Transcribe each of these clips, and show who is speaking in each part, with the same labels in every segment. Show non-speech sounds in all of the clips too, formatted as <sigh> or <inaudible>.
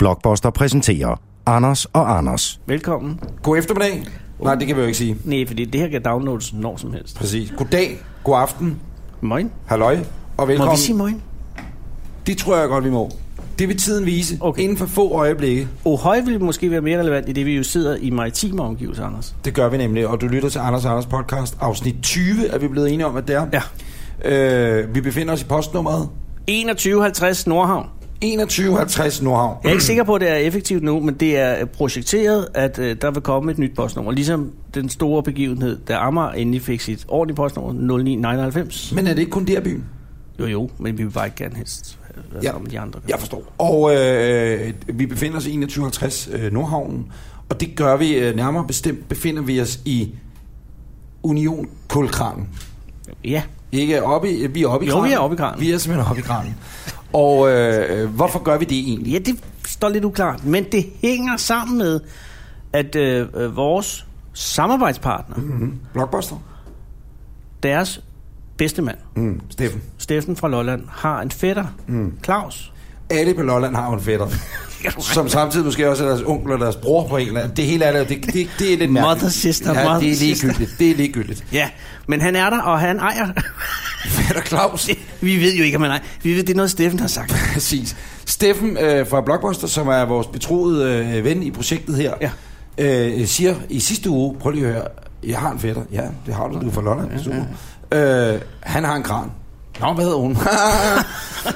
Speaker 1: Blockbuster præsenterer Anders og Anders.
Speaker 2: Velkommen.
Speaker 3: God eftermiddag. Nej, det kan vi jo ikke sige.
Speaker 2: Nej, fordi det her kan downloades når som helst.
Speaker 3: Præcis. Goddag, god aften,
Speaker 2: Moin.
Speaker 3: halløj og velkommen.
Speaker 2: Må vi sige moin?
Speaker 3: Det tror jeg godt, vi må. Det vil tiden vise
Speaker 2: Okay.
Speaker 3: okay. inden for få øjeblikke.
Speaker 2: Ohøj ville Oh, måske være mere relevant, i det vi jo sidder i maritime omgivelser, Anders.
Speaker 3: Det gør vi nemlig, og du lytter til Anders og Anders podcast. Afsnit 20 er vi blevet enige om, at det er.
Speaker 2: Ja.
Speaker 3: Øh, vi befinder os i postnummeret
Speaker 2: 2150 Nordhavn.
Speaker 3: 2150 Nordhavn.
Speaker 2: Jeg er ikke sikker på, at det er effektivt nu, men det er øh, projekteret, at øh, der vil komme et nyt postnummer. Ligesom den store begivenhed, da Amager endelig fik sit ordentlige postnummer, 09990.
Speaker 3: Men er det ikke kun der byen?
Speaker 2: Jo jo, men vi vil bare ikke gerne helst øh, være
Speaker 3: Ja.
Speaker 2: sammen med de andre.
Speaker 3: Jeg forstår. Og øh, vi befinder os i 2150 øh, Nordhavnen, og det gør vi øh, nærmere bestemt. Befinder vi os i Union Kulkranen.
Speaker 2: Ja,
Speaker 3: Ikke oppe i, vi er oppe i
Speaker 2: Jo, vi er oppe i kranen.
Speaker 3: Vi er simpelthen oppe i kranen. Og øh, øh, hvorfor gør vi det egentlig?
Speaker 2: Ja, det står lidt uklart, men det hænger sammen med, at øh, øh, vores samarbejdspartner, mm.
Speaker 3: Mm-hmm. Blockbuster?
Speaker 2: deres bedstemand,
Speaker 3: Mm, Steffen.
Speaker 2: Steffen fra Lolland, har en fætter, mm. Claus.
Speaker 3: Alle på Lolland har jo en
Speaker 2: <laughs>
Speaker 3: fætter. som samtidig måske også er deres onkel og deres bror på en eller anden. Det hele er der. Det, det, det er lidt mærkeligt.
Speaker 2: Mother, sister,
Speaker 3: ja,
Speaker 2: mother,
Speaker 3: det er
Speaker 2: sister.
Speaker 3: ligegyldigt. Det er ligegyldigt.
Speaker 2: Ja, men han er der, og han ejer. <laughs>
Speaker 3: Fætter Claus.
Speaker 2: vi ved jo ikke, om han ejer. Vi ved, det er noget, Steffen har sagt.
Speaker 3: <laughs> Præcis. Steffen øh, fra Blockbuster, som er vores betroede øh, ven i projektet her,
Speaker 2: Ja.
Speaker 3: øh, siger i sidste uge, prøv lige at høre, jeg har en fætter. Ja, det har du, du er fra Lolland. Ja, ja. Øh, han har en kran. Nå, hvad hedder <laughs> hun?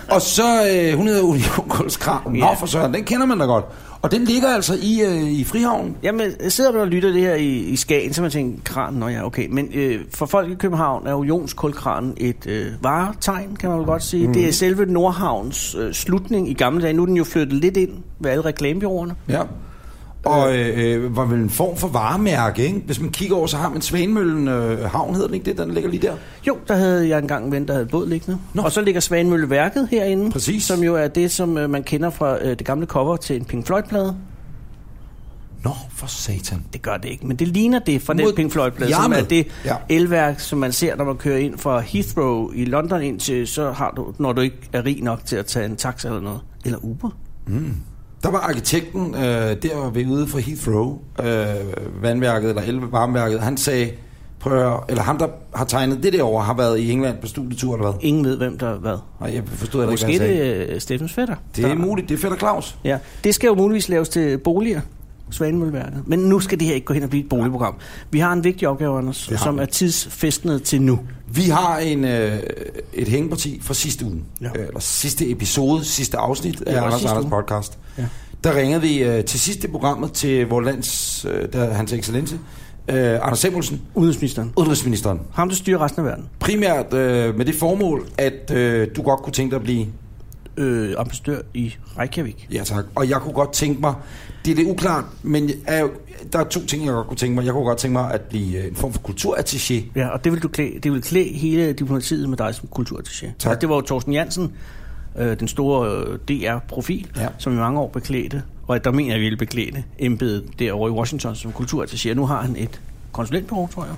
Speaker 3: og så, øh, hun hedder Unionkuls Kran. Nå,
Speaker 2: Ja.
Speaker 3: for søren, den kender man da godt. Og den ligger altså i, øh, i Frihavn.
Speaker 2: Jamen, sidder man og lytter det her i, i Skagen, så man tænker, kran, nå ja, okay. Men øh, for folk i København er unionskulkranen et øh, varetegn, kan man vel godt sige. Mm. Det er selve Nordhavns øh, slutning i gamle dage. Nu er den jo flyttet lidt ind ved alle reklamebyråerne.
Speaker 3: Ja. Og øh, øh, var vel en form for varemærke, ikke? Hvis man kigger over, så har man Svanemøllen øh, Havn, hedder den ikke det? Den ligger lige der.
Speaker 2: Jo, der havde jeg engang en ven, der havde et båd liggende. Nå. Og så ligger Svanemølleværket herinde,
Speaker 3: Præcis.
Speaker 2: som jo er det, som øh, man kender fra øh, det gamle cover til en Pink Floyd-plade.
Speaker 3: Nå, for satan.
Speaker 2: Det gør det ikke, men det ligner det fra den
Speaker 3: Mod-
Speaker 2: Pink Floyd-plade, som
Speaker 3: Jamen.
Speaker 2: er det ja.
Speaker 3: Ja.
Speaker 2: elværk, som man ser, når man kører ind fra Heathrow i London ind til, så har du, når du ikke er rig nok til at tage en taxa eller noget. Eller Uber.
Speaker 3: Der var arkitekten øh, der ved ude fra Heathrow, øh, vandværket eller elvarmværket, han sagde, prøv at høre, eller ham der har tegnet det der over, har været i England på studietur eller hvad?
Speaker 2: Ingen ved, hvem der er hvad.
Speaker 3: Nej, jeg forstod heller ikke,
Speaker 2: Måske
Speaker 3: hvad han sagde. Det,
Speaker 2: det er Steffens fætter.
Speaker 3: det er
Speaker 2: der-
Speaker 3: muligt, det er Fætter Claus.
Speaker 2: Ja, det skal jo muligvis laves til boliger, Svanemølleværket. Men nu skal det her ikke gå hen og blive et boligprogram. Vi har en vigtig opgave, Anders,
Speaker 3: Det har
Speaker 2: som
Speaker 3: vi.
Speaker 2: er tidsfæstnet til nu.
Speaker 3: Vi har en, øh, et hængeparti fra sidste uge,
Speaker 2: Ja.
Speaker 3: ja. eller sidste episode, sidste afsnit
Speaker 2: var
Speaker 3: af Anders
Speaker 2: sidste
Speaker 3: Anders
Speaker 2: uge.
Speaker 3: podcast.
Speaker 2: Ja.
Speaker 3: Ja. Der ringede vi øh, til sidste programmet til vores lands, øh, der, hans excellence, øh, Anders Samuelsen,
Speaker 2: Udenrigsministeren.
Speaker 3: udenrigsministeren.
Speaker 2: Ham, der styrer resten af verden.
Speaker 3: Primært øh, med det formål, at øh, du godt kunne tænke dig at blive
Speaker 2: Øh, ambassadør i Reykjavik.
Speaker 3: Ja tak, og jeg kunne godt tænke mig, det er lidt uklart, men jeg er, jo- der er to ting, jeg godt kunne tænke mig. Jeg kunne godt tænke mig at blive øh, en form for kulturattaché.
Speaker 2: Ja, og det vil, du klæde, det vil klæde hele diplomatiet med dig som kulturattaché.
Speaker 3: Tak.
Speaker 2: Og Det var jo Thorsten Jansen, øh, den store øh, DR-profil, ja.
Speaker 3: Ja.
Speaker 2: som i mange år beklædte, og der mener jeg ville beklæde embedet derovre i Washington som kulturattaché. Nu har han et konsulentbureau, tror jeg.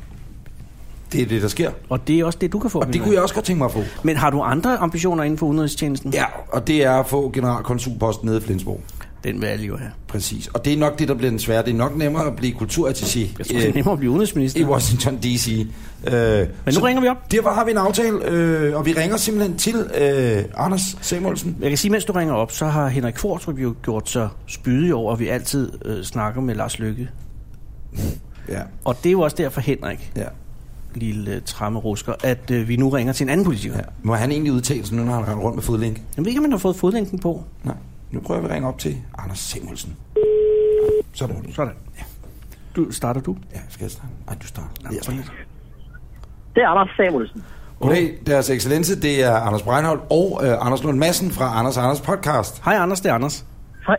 Speaker 3: Det er det, der sker.
Speaker 2: Og det er også det, du kan få.
Speaker 3: Og det kunne jeg også godt tænke mig at få.
Speaker 2: Men har du andre ambitioner inden for udenrigstjenesten?
Speaker 3: Ja, og det er at få generalkonsulposten nede i Flensborg.
Speaker 2: Den vil alle jo have.
Speaker 3: Præcis. Og det er nok det, der bliver den svære. Det er nok nemmere at blive kulturattaché
Speaker 2: Jeg tror, det er
Speaker 3: øh,
Speaker 2: nemmere at blive udenrigsminister.
Speaker 3: i Washington D.C. Øh,
Speaker 2: Men nu
Speaker 3: så
Speaker 2: ringer vi op.
Speaker 3: Derfor har vi en aftale, øh, og vi ringer simpelthen til øh, Anders Samuelsen.
Speaker 2: Jeg kan sige, mens du ringer op, så har Henrik Kvartrup jo gjort sig spydig over, at vi altid øh, snakker med Lars Lykke.
Speaker 3: Ja,
Speaker 2: Og det er jo også derfor, Henrik,
Speaker 3: ja.
Speaker 2: lille øh, trammerusker, at øh, vi nu ringer til en anden politiker. Ja.
Speaker 3: Ja. Må han egentlig udtale sig nu, når han render rundt med fodlænke?
Speaker 2: Jeg ved ikke, om han har fået fodlænken på.
Speaker 3: Nej, nu prøver vi at ringe op til Anders Samuelsen. Så må du.
Speaker 2: Sådan. Ja. Du, starter du?
Speaker 3: Ja, skal jeg starte? Nej, du starter.
Speaker 2: Jamen,
Speaker 3: Jeg
Speaker 2: sådan
Speaker 3: starter.
Speaker 2: lidt.
Speaker 4: Det er Anders Samuelsen.
Speaker 3: Goddag, deres excellence, det er Anders Breinholt og øh, Anders Lund Madsen fra Anders og Anders podcast.
Speaker 2: Hej Anders, det er Anders.
Speaker 4: Tre,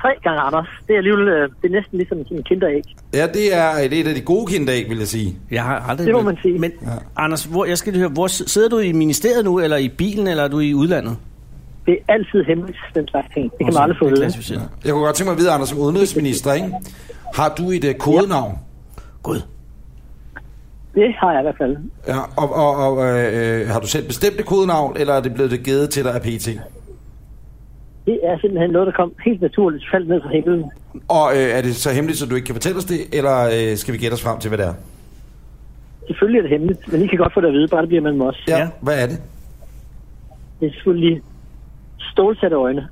Speaker 4: tre gange Anders. Det er alligevel øh, det er næsten ligesom sådan en kinderæg.
Speaker 3: Ja, det er et, et af de gode kinderæg, vil jeg sige.
Speaker 2: Jeg har aldrig...
Speaker 4: Det må man sige.
Speaker 2: Men ja. Anders, hvor, jeg skal lige høre, hvor s- sidder du i ministeriet nu, eller i bilen, eller er du i udlandet?
Speaker 4: Det er altid hemmeligt, den slags ting. Det kan man aldrig få
Speaker 2: Det er
Speaker 4: ved.
Speaker 2: klassificeret.
Speaker 3: Jeg kunne godt tænke mig at vide, Anders, som udenrigsminister, ikke? Har du et øh, kodenavn?
Speaker 2: Gud.
Speaker 4: Det har jeg i hvert fald.
Speaker 3: Ja, og, og, og øh, øh, har du selv bestemt et kodenavn, eller er det blevet det givet til dig af PT?
Speaker 4: Det er simpelthen noget, der kom helt naturligt, faldt ned fra himlen.
Speaker 3: Og øh, er det så hemmeligt, så du ikke kan fortælle os det, eller øh, skal vi gætte os frem til, hvad det er?
Speaker 4: Selvfølgelig er det hemmeligt, men I kan godt få det at vide, bare det bliver mellem os.
Speaker 3: Ja.
Speaker 2: Ja.
Speaker 3: ja. Hvad er det?
Speaker 4: Det er selvfølgelig stålsatte øjne.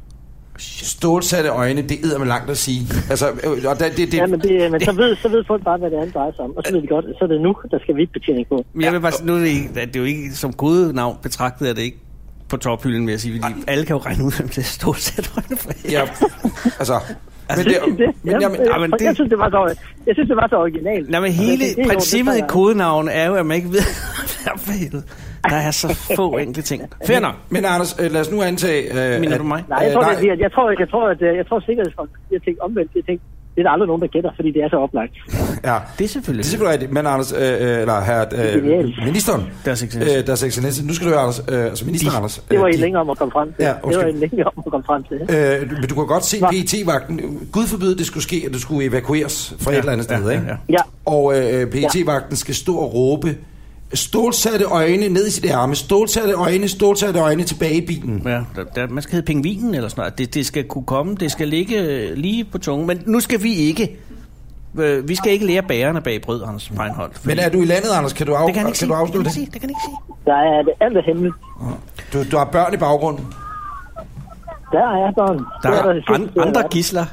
Speaker 3: Stålsatte øjne, det æder med langt at sige. Altså, øh, og da, det, det,
Speaker 4: Ja, men, det, men så, ved, så ved folk bare, hvad det er, det drejer sig om. Og så ved de godt, at så er det nu, der skal vidt betjening på.
Speaker 2: Men jeg vil bare sige, nu er det, ikke, at det er jo ikke som kodenavn betragtet, er det ikke på tophylden, vil jeg sige. Fordi alle kan jo regne ud, hvem det er stort set øjne for.
Speaker 3: ja,
Speaker 4: <laughs>
Speaker 3: altså, men det,
Speaker 4: Det, øh- det,
Speaker 3: men, jamen,
Speaker 2: ah, men
Speaker 4: det,
Speaker 2: det-
Speaker 4: jeg, synes, det var så, jeg synes, det var så originalt.
Speaker 2: Nej, men hele
Speaker 4: det- det er jo-
Speaker 2: princippet
Speaker 4: det
Speaker 2: i
Speaker 4: falder-
Speaker 2: kodenavn er jo, at man ikke ved, <laughs> hvad for helvede. Der er så
Speaker 4: <laughs>
Speaker 2: få enkle ting. Fair nok.
Speaker 3: men Anders, øh, lad os nu antage... Øh,
Speaker 2: Minder
Speaker 3: at-
Speaker 2: du mig?
Speaker 4: Nej, jeg
Speaker 3: Øh,
Speaker 4: tror,
Speaker 3: nej.
Speaker 4: det er, fordi, at jeg tror, jeg tror, at øh, jeg tror sikkerhedsfolk, jeg tænkte omvendt, jeg tænkte, det er der aldrig nogen, der gætter, fordi det er så oplagt.
Speaker 3: Ja.
Speaker 2: Det er selvfølgelig.
Speaker 3: Det er selvfølgelig rigtigt, men Anders, øh, øh, eller her,
Speaker 4: Genialt.
Speaker 3: øh, ministeren,
Speaker 2: Deres Excellence.
Speaker 3: øh, deres excellence, nu skal du høre, Anders, øh, altså minister
Speaker 2: De.
Speaker 3: Anders.
Speaker 4: Det var
Speaker 3: øh,
Speaker 4: I
Speaker 3: de-
Speaker 4: længe om at komme frem til.
Speaker 3: Ja,
Speaker 4: det var I
Speaker 3: undskyld.
Speaker 4: længe om at komme frem til.
Speaker 3: Øh, men du kan godt se
Speaker 4: Nå.
Speaker 3: pet vagten Gud forbyde, det skulle ske, at du skulle evakueres fra ja, et eller andet
Speaker 2: ja,
Speaker 3: sted,
Speaker 2: ja,
Speaker 3: ikke?
Speaker 2: ja.
Speaker 4: Ja,
Speaker 3: Og øh, pet vagten skal stå og råbe, stålsatte øjne ned i sit arme, stålsatte øjne, stålsatte øjne tilbage i bilen.
Speaker 2: Ja, der, der, man skal hedde pingvinen eller sådan noget. Det, det skal kunne komme, det skal ligge øh, lige på tungen. Men nu skal vi ikke. Øh, vi skal ikke lære bærerne bag brød, Anders Feinholt.
Speaker 3: Men er du i landet, Anders? Kan du, af,
Speaker 2: det kan han ikke
Speaker 3: kan
Speaker 2: sige. Det
Speaker 3: du
Speaker 2: kan
Speaker 3: afslutte
Speaker 2: han
Speaker 3: det?
Speaker 2: sige. Det kan han ikke sige.
Speaker 4: der er det alt er hemmeligt.
Speaker 3: Du, du har børn i baggrunden.
Speaker 4: Der er børn.
Speaker 2: Der
Speaker 4: Det
Speaker 2: er
Speaker 4: det sidste,
Speaker 2: an, andre gisler.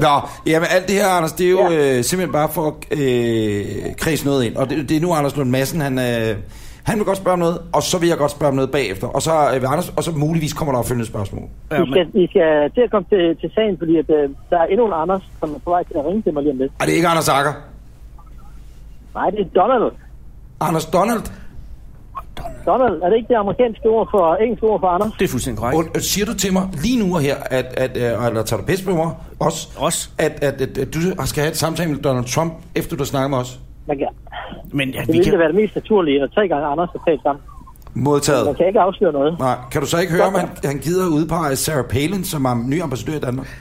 Speaker 3: Nå, jamen alt det her, Anders, det er jo ja.
Speaker 4: Ja.
Speaker 3: øh, simpelthen bare for at øh, kredse noget ind. Og det, det er nu Anders Lund Madsen, han, øh, han vil godt spørge om noget, og så vil jeg godt spørge om noget bagefter. Og så, øh, vil Anders, og så muligvis kommer der opfølgende spørgsmål.
Speaker 2: Ja,
Speaker 4: I skal, I skal til at komme til, til sagen, fordi at, øh, der er endnu en Anders, som er på vej til at ringe til mig lige om lidt.
Speaker 3: Og det er ikke Anders Akker.
Speaker 4: Nej, det er Donald.
Speaker 3: Anders Donald,
Speaker 4: Donald, er det ikke det amerikanske ord for, engelske ord for Anders?
Speaker 2: det er fuldstændig korrekt.
Speaker 3: und, siger du til mig lige nu og her, at, at, øh, eller tager du pis på mig også,
Speaker 2: Os.
Speaker 3: At, at, at, at, du skal have et samtale med Donald Trump, efter du har snakket med os?
Speaker 4: Man kan,
Speaker 2: Men ja,
Speaker 4: det
Speaker 2: vi
Speaker 4: ville da
Speaker 2: kan...
Speaker 4: være det mest naturlige, at tre gange Anders er talt sammen. Man
Speaker 3: Modtaget.
Speaker 4: kan ikke afsløre noget.
Speaker 3: Nej, kan du så ikke høre, om han, han gider udpege Sarah Palin, som er ny ambassadør i Danmark?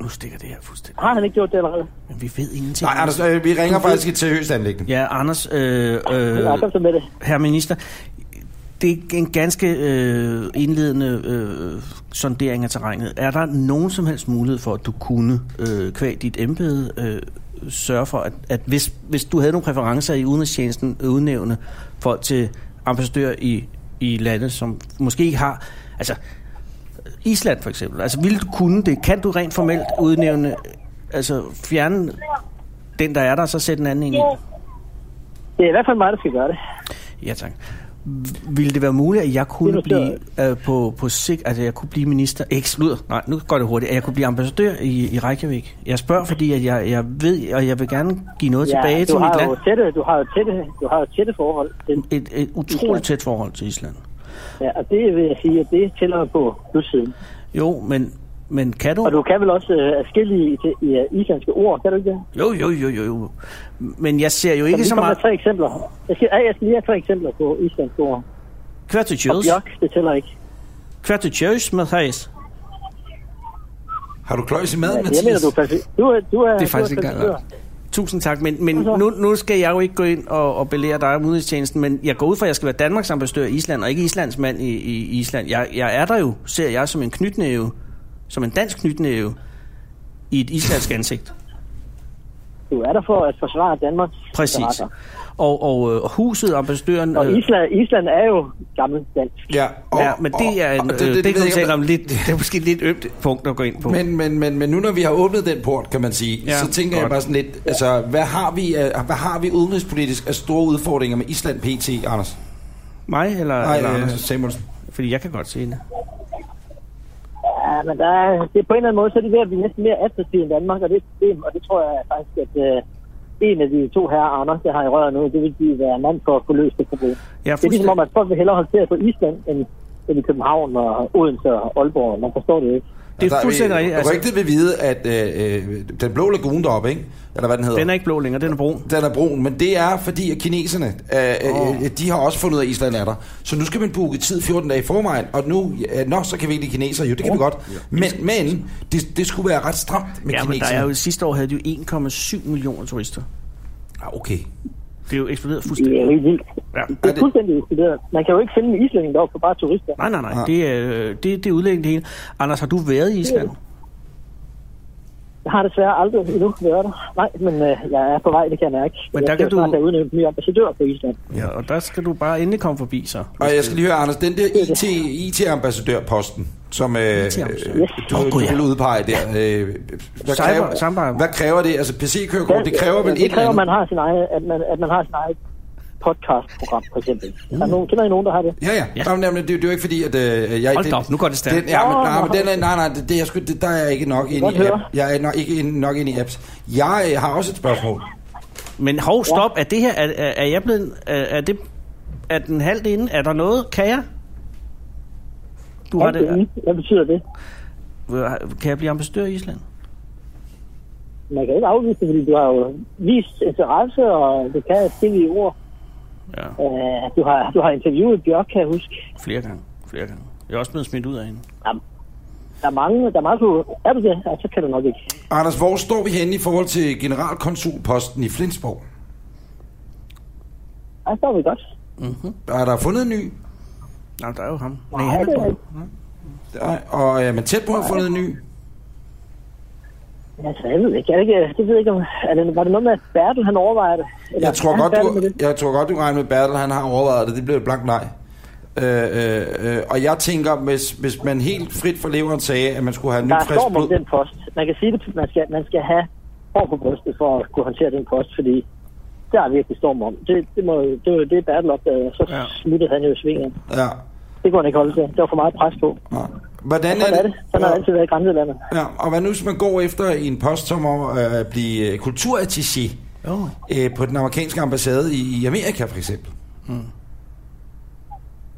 Speaker 2: Nu stikker det her fuldstændig.
Speaker 4: Har han ikke gjort det allerede?
Speaker 2: Men vi ved ingenting.
Speaker 3: Nej, Anders, øh, vi ringer faktisk i et seriøst anlæggende.
Speaker 2: Ja, Anders, øh, øh,
Speaker 4: Ja, kom så med det.
Speaker 2: herre minister, det er en ganske øh, indledende øh, sondering af terrænet. Er der nogen som helst mulighed for, at du kunne, øh, kvæg dit embede, øh, sørge for, at, at hvis, hvis du havde nogle præferencer i udenrigstjenesten, udnævne folk til ambassadør i, i lande, som måske ikke har... Altså, Island for eksempel. Altså, vil du kunne det? Kan du rent formelt udnævne... Altså, fjerne den, der er der, og så sætte en anden ind i?
Speaker 4: Det er i hvert fald mig, der skal gøre det.
Speaker 2: Ja, tak. V- Ville det være muligt, at jeg kunne
Speaker 4: Det er
Speaker 2: blive
Speaker 4: noteret.
Speaker 2: øh, på, på sig, altså jeg kunne blive minister, ikke sludder, nej, nu går det hurtigt, at jeg kunne blive ambassadør i, i Reykjavik. Jeg spørger, fordi at jeg, jeg ved, og jeg vil gerne give noget tilbage
Speaker 4: ja,
Speaker 2: til
Speaker 4: du
Speaker 2: mit
Speaker 4: har
Speaker 2: land.
Speaker 4: jo tætte, du har jo tætte, du har jo tætte forhold. Den,
Speaker 2: Et, et
Speaker 4: Island.
Speaker 2: utroligt tæt forhold til Island.
Speaker 4: ja, og det vil jeg sige, at det tæller på plussiden.
Speaker 2: Jo, men, men kan du?
Speaker 4: Og du kan vel også øh, afskillige til, i, øh, islandske ord, kan du ikke det?
Speaker 2: Jo, jo, jo, jo, jo. Men jeg ser jo ikke
Speaker 4: Kan
Speaker 2: så
Speaker 4: komme
Speaker 2: meget...
Speaker 4: med tre eksempler. Jeg skal, ja, jeg skal lige have tre eksempler på islandske ord.
Speaker 2: Kvartutjøs,
Speaker 4: Bjørk, det tæller ikke.
Speaker 2: kvartutjøs, Mathias.
Speaker 3: Har du kløjs i maden,
Speaker 4: Ja,
Speaker 3: Mathias?
Speaker 4: jeg mener, du er perfekt. Du, er- du er,
Speaker 2: Det er faktisk
Speaker 4: du
Speaker 2: ikke engang Tusind tak, men, men
Speaker 4: så?
Speaker 2: nu, nu skal jeg jo ikke gå ind og, og belære dig om udenrigstjenesten, men jeg går ud fra, at jeg skal være Danmarks ambassadør i Island, og ikke Islands mand i, i Island. Jeg, jeg er der jo, ser jeg som en knytnæve, som en dansk knytnæve, i et islandsk ansigt.
Speaker 4: Du er der for at forsvare Danmarks
Speaker 2: Præcis.
Speaker 4: interesser.
Speaker 2: Og, og, øh, og huset, ambassadøren...
Speaker 4: Og
Speaker 2: øh,
Speaker 4: Island, Island er jo gammel dansk.
Speaker 3: Ja,
Speaker 2: Ja, men det er en,
Speaker 3: og-
Speaker 2: det, det, det, det kan
Speaker 3: ved
Speaker 2: vi
Speaker 3: jeg
Speaker 2: tale
Speaker 3: ikke,
Speaker 2: om lidt, det er måske et lidt ømt punkt at gå ind på.
Speaker 3: Men, men, men, men nu når vi har åbnet den port, kan man sige, ja,
Speaker 2: Ja,
Speaker 3: så tænker godt. jeg
Speaker 2: godt.
Speaker 3: bare sådan lidt, altså, hvad har vi, af- hvad har vi udenrigspolitisk af store udfordringer med Island PT, Anders?
Speaker 2: Mig, eller...
Speaker 3: Nej, eller
Speaker 2: øh,
Speaker 3: Anders Samuelsen.
Speaker 2: Fordi jeg kan godt se det.
Speaker 4: Ja, men der er, det er på en eller anden måde, så er det ved at blive næsten mere attraktivt end Danmark, og det er et problem, og det tror jeg faktisk, at øh, en af de to herrer, Anders, jeg har i røret nu, det vil de være en mand for at kunne løse det problem.
Speaker 2: Jeg er
Speaker 4: Det er ligesom om,
Speaker 2: fuldstændig...
Speaker 4: at folk vil hellere holde ferie på Island, end, end i København og Odense og Aalborg. Man forstår det ikke.
Speaker 2: Det er fuldstændig rigtigt.
Speaker 3: Altså.
Speaker 2: Altså,
Speaker 3: Rigtigt vil vide, at øh, øh, den blå lagune deroppe, ikke? Eller hvad den hedder?
Speaker 2: den er ikke blå længere, den er brun.
Speaker 3: den er brun, men det er fordi, at kineserne, øh, øh, øh, de har også fundet ud af, at Island er der. Så nu skal man booke tid 14 dage i forvejen, og nu, øh, nå, så kan vi ikke lide kineser, jo, det kan vi godt. Men, men det, det skulle være ret stramt med
Speaker 2: Ja, men der
Speaker 3: kineserne.
Speaker 2: er jo, sidste år havde de jo 1,7 millioner turister.
Speaker 3: Ah, okay.
Speaker 2: Det er jo eksploderet
Speaker 4: Det
Speaker 2: fuldstændig.
Speaker 4: er helt vildt.
Speaker 2: Ja.
Speaker 4: Det
Speaker 3: Er
Speaker 4: er
Speaker 3: det-
Speaker 4: fuldstændig eksploderet. Man kan jo ikke finde en islænding deroppe for bare turister.
Speaker 2: Nej, nej, nej. Det er, øh, det, det er udlæggende det hele. Anders, har du været i Island?
Speaker 4: Jeg har desværre aldrig endnu været der. Nej, men øh, jeg er på vej, det kan jeg mærke.
Speaker 2: Men
Speaker 4: jeg
Speaker 2: der
Speaker 4: skal
Speaker 2: kan
Speaker 4: jo snart
Speaker 2: du-
Speaker 4: have udnævnt en ny ambassadør på Island.
Speaker 2: Ja, og der skal du bare endelig komme forbi, så.
Speaker 3: Og jeg skal lige høre, Anders, den der IT, IT-ambassadørposten, som øh, øh,
Speaker 2: IT-ambassadør.
Speaker 3: du,
Speaker 2: Åh,
Speaker 3: oh,
Speaker 2: gud,
Speaker 3: du
Speaker 2: ja.
Speaker 3: vil udpege der. Øh, hvad,
Speaker 2: Cyber- cyber-
Speaker 3: kræver, hvad kræver det? Altså PC-kørekort, det kræver vel
Speaker 4: det
Speaker 3: et eller
Speaker 4: kræver,
Speaker 3: andet?
Speaker 4: man har sin egen, at, man, at man har sin egen podcastprogram, for eksempel. Uh. Der er nogen, kender I nogen, der har det?
Speaker 3: Ja, ja.
Speaker 2: Ja.
Speaker 3: ja. Jamen, jamen, det, det er jo ikke fordi, at... Øh, jeg,
Speaker 2: Hold
Speaker 3: den-
Speaker 2: da op, nu går det stærkt.
Speaker 3: Den, ja, men,
Speaker 4: Nå,
Speaker 3: nej,
Speaker 4: nå.
Speaker 3: men den er, nej, nej, det, det, er jeg sgu, det, der er jeg ikke nok inde
Speaker 4: Godt
Speaker 3: i
Speaker 4: høre.
Speaker 3: apps. Jeg er nok, ikke inde, nok inde i apps. Jeg øh, har også et spørgsmål.
Speaker 2: Men hov, stop. Er det her, er, er er jeg blevet, er, er det, er den halvt inde? Er der noget? Kan jeg? Du har det,
Speaker 4: det? Hvad betyder det?
Speaker 2: kan jeg blive ambassadør i Island?
Speaker 4: Man kan ikke afvise det, fordi du har jo vist interesse, og det kan stille i ord.
Speaker 2: Ja,
Speaker 4: Øh, du, har, du har interviewet Bjørk, kan jeg huske.
Speaker 2: flere gange. Flere gange. Jeg er også blevet smidt ud af hende.
Speaker 4: Der er mange, der er mange, du... Er du det? Ja, så kan du nok ikke.
Speaker 3: Anders, hvor står vi henne i forhold til generalkonsulposten i Flensborg?
Speaker 4: Ja, så er vi godt.
Speaker 3: Er der fundet en ny?
Speaker 2: Nej, der er jo ham. Nej,
Speaker 4: Nej,
Speaker 2: han
Speaker 4: det er
Speaker 2: er på.
Speaker 4: ikke.
Speaker 3: Nej, Og øh, er man tæt på at have fundet en ny?
Speaker 4: Altså, jeg ved ikke. Jeg, ikke, det ved jeg ikke om, er det, var det noget med, at Bertel han overvejer det? Eller,
Speaker 3: Jeg tror,
Speaker 4: er han
Speaker 3: godt,
Speaker 4: færdig med
Speaker 3: du,
Speaker 4: det?
Speaker 3: jeg tror godt, du regner med Bertel, han har overvejet det. Det bliver et blankt nej. Øh, øh, øh, og jeg tænker, hvis, hvis man helt frit for leveren sagde, at man skulle have
Speaker 4: Der
Speaker 3: nyt
Speaker 4: er
Speaker 3: frisk
Speaker 4: storm om
Speaker 3: blod...
Speaker 4: den post. Man kan sige det, man skal, man skal have hår på brystet for at kunne håndtere den post, fordi der er virkelig storm om. Det, det, må, det var jo det, Bertel opdagede, og så
Speaker 2: Ja.
Speaker 4: ja. smuttede han jo i svingen.
Speaker 3: Ja,
Speaker 4: Det kunne han ikke holde til. Der var for meget pres på.
Speaker 3: ja. Hvordan
Speaker 4: Sådan er det. Sådan har det
Speaker 3: Ja.
Speaker 4: altid været i grænselandet.
Speaker 3: Ja, og hvad nu, hvis man går efter en post som at øh, blive øh, kulturattaché
Speaker 2: Jo.
Speaker 3: øh, på den amerikanske ambassade i, i Amerika, for eksempel?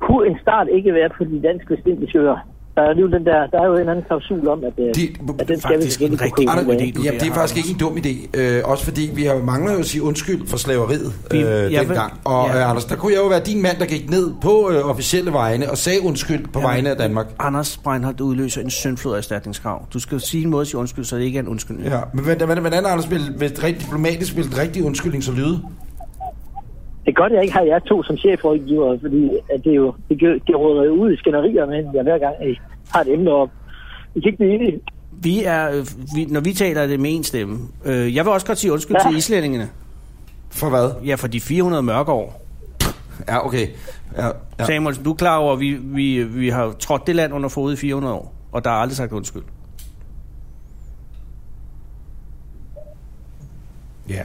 Speaker 4: Kunne en start ikke være på de danske vestindiske øer? Der er, alligevel den der, der er jo en eller anden klausul om, at, øh,
Speaker 3: Det,
Speaker 4: at den skal vi
Speaker 2: faktisk en
Speaker 4: selvfølgelig
Speaker 2: rigtig
Speaker 4: kunne
Speaker 3: Anders,
Speaker 2: god
Speaker 4: købe.
Speaker 2: idé.
Speaker 4: af.
Speaker 2: du
Speaker 3: jamen,
Speaker 2: der
Speaker 3: det er
Speaker 2: har,
Speaker 3: faktisk ikke en dum idé. Øh, også fordi vi har mangler jo at sige undskyld for slaveriet
Speaker 2: Vi-
Speaker 3: øh,
Speaker 2: jeg vil-
Speaker 3: dengang. Og
Speaker 2: ja.
Speaker 3: øh, Anders, der kunne jeg jo være din mand, der gik ned på øh, officielle vegne og sagde undskyld på vegne af Danmark.
Speaker 2: Anders Breinholt udløser en syndflod af erstatningskrav. Du skal jo sige en måde at sige undskyld, så det ikke er en undskyldning.
Speaker 3: Ja, men hvordan, hvordan- hvordan Anders, vil, vil et rigtig diplomatisk vil et rigtig undskyldning så lyde?
Speaker 4: Det er godt, jeg ikke har jer to som chefrådgiver, fordi at det, er jo, det, gør- det råder jo ud i skænderier med jer hver gang, I har et emne op. I kan ikke blive enige.
Speaker 2: Vi er, øh, vi, når vi taler, er det med en stemme. Øh, jeg vil også godt sige undskyld
Speaker 4: Ja.
Speaker 2: til islændingene.
Speaker 3: For hvad?
Speaker 2: Ja, for de 400 mørke år.
Speaker 3: Ja, okay. Ja,
Speaker 2: Ja.
Speaker 3: ja.
Speaker 2: Samuelsen, du er klar over, at vi, vi, vi har jo trådt det land under fod i 400 år, og der er aldrig sagt undskyld.
Speaker 3: Ja.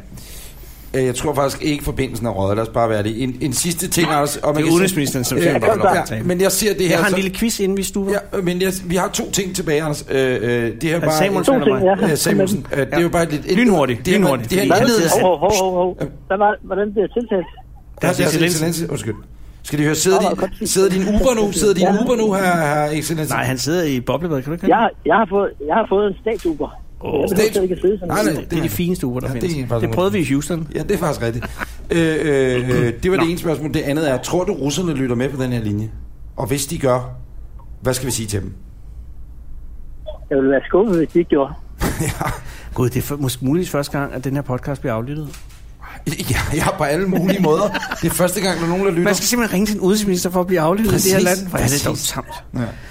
Speaker 3: Øh, Jeg tror faktisk ikke, forbindelsen er røget. Lad os bare være det. En, en sidste ting, Anders. Og
Speaker 2: Det er
Speaker 3: kan sige-
Speaker 2: udenrigsministeren, som selv bare har lov til at
Speaker 3: ja,
Speaker 2: tale.
Speaker 3: Men jeg ser det her...
Speaker 2: Jeg har en
Speaker 3: så-
Speaker 2: lille quiz, inden vi stuer. Ja.
Speaker 3: Ja, men jeg, vi har to ting tilbage, Anders. Øh, øh, det her bare...
Speaker 2: Samuelsen
Speaker 4: To
Speaker 2: eller
Speaker 4: ting,
Speaker 2: mig?
Speaker 4: ja.
Speaker 3: Øh, Samuelsen. Øh, det er jo bare lidt... et-
Speaker 2: Lynhurtigt,
Speaker 3: Det er,
Speaker 2: lynhurtigt,
Speaker 3: Det her,
Speaker 2: fordi-
Speaker 4: Hvad?
Speaker 3: det her,
Speaker 4: Hov, hov, hov, hov. Hvad var, hvordan bliver det tiltalt?
Speaker 3: Deres
Speaker 2: Deres Excellence.
Speaker 3: excellence. Undskyld. Skal de høre, sidder,
Speaker 4: Nå, nå,
Speaker 3: de,
Speaker 4: godt.
Speaker 3: sidder din Uber nu? Sidder din
Speaker 4: Ja.
Speaker 3: Uber nu, her, her excellence?
Speaker 2: Nej, han sidder i boblebad, kan du ikke
Speaker 4: Jeg, har- jeg, har fået, jeg har fået en statsuber.
Speaker 2: Åh.
Speaker 4: Oh, jeg behøver slet ikke at sidde sådan.
Speaker 3: Nej, nej,
Speaker 4: en.
Speaker 2: det, det er de fineste uger, der
Speaker 3: Ja,
Speaker 2: ja,
Speaker 3: det
Speaker 2: findes.
Speaker 3: er
Speaker 2: Det,
Speaker 3: faktisk
Speaker 2: det prøvede vi i Houston.
Speaker 3: Ja, det er faktisk rigtigt. Øh, øh, øh, det var det ene spørgsmål. Det andet er, tror du, russerne lytter med på den her linje? Og hvis de gør, hvad skal vi sige til dem? <laughs>
Speaker 4: Jeg ville være skuffet, hvis de ikke gjorde.
Speaker 3: ja.
Speaker 2: Gud, det er for, måske muligvis første gang, at den her podcast bliver aflyttet.
Speaker 3: Ja, ja, på alle mulige måder. Det er første gang, der er nogen, der lytter.
Speaker 2: Man skal simpelthen ringe til en udenrigsminister for at blive aflyttet i det her
Speaker 3: Præcis,
Speaker 2: land. Hvor er det dog
Speaker 3: præcis.
Speaker 2: tamt.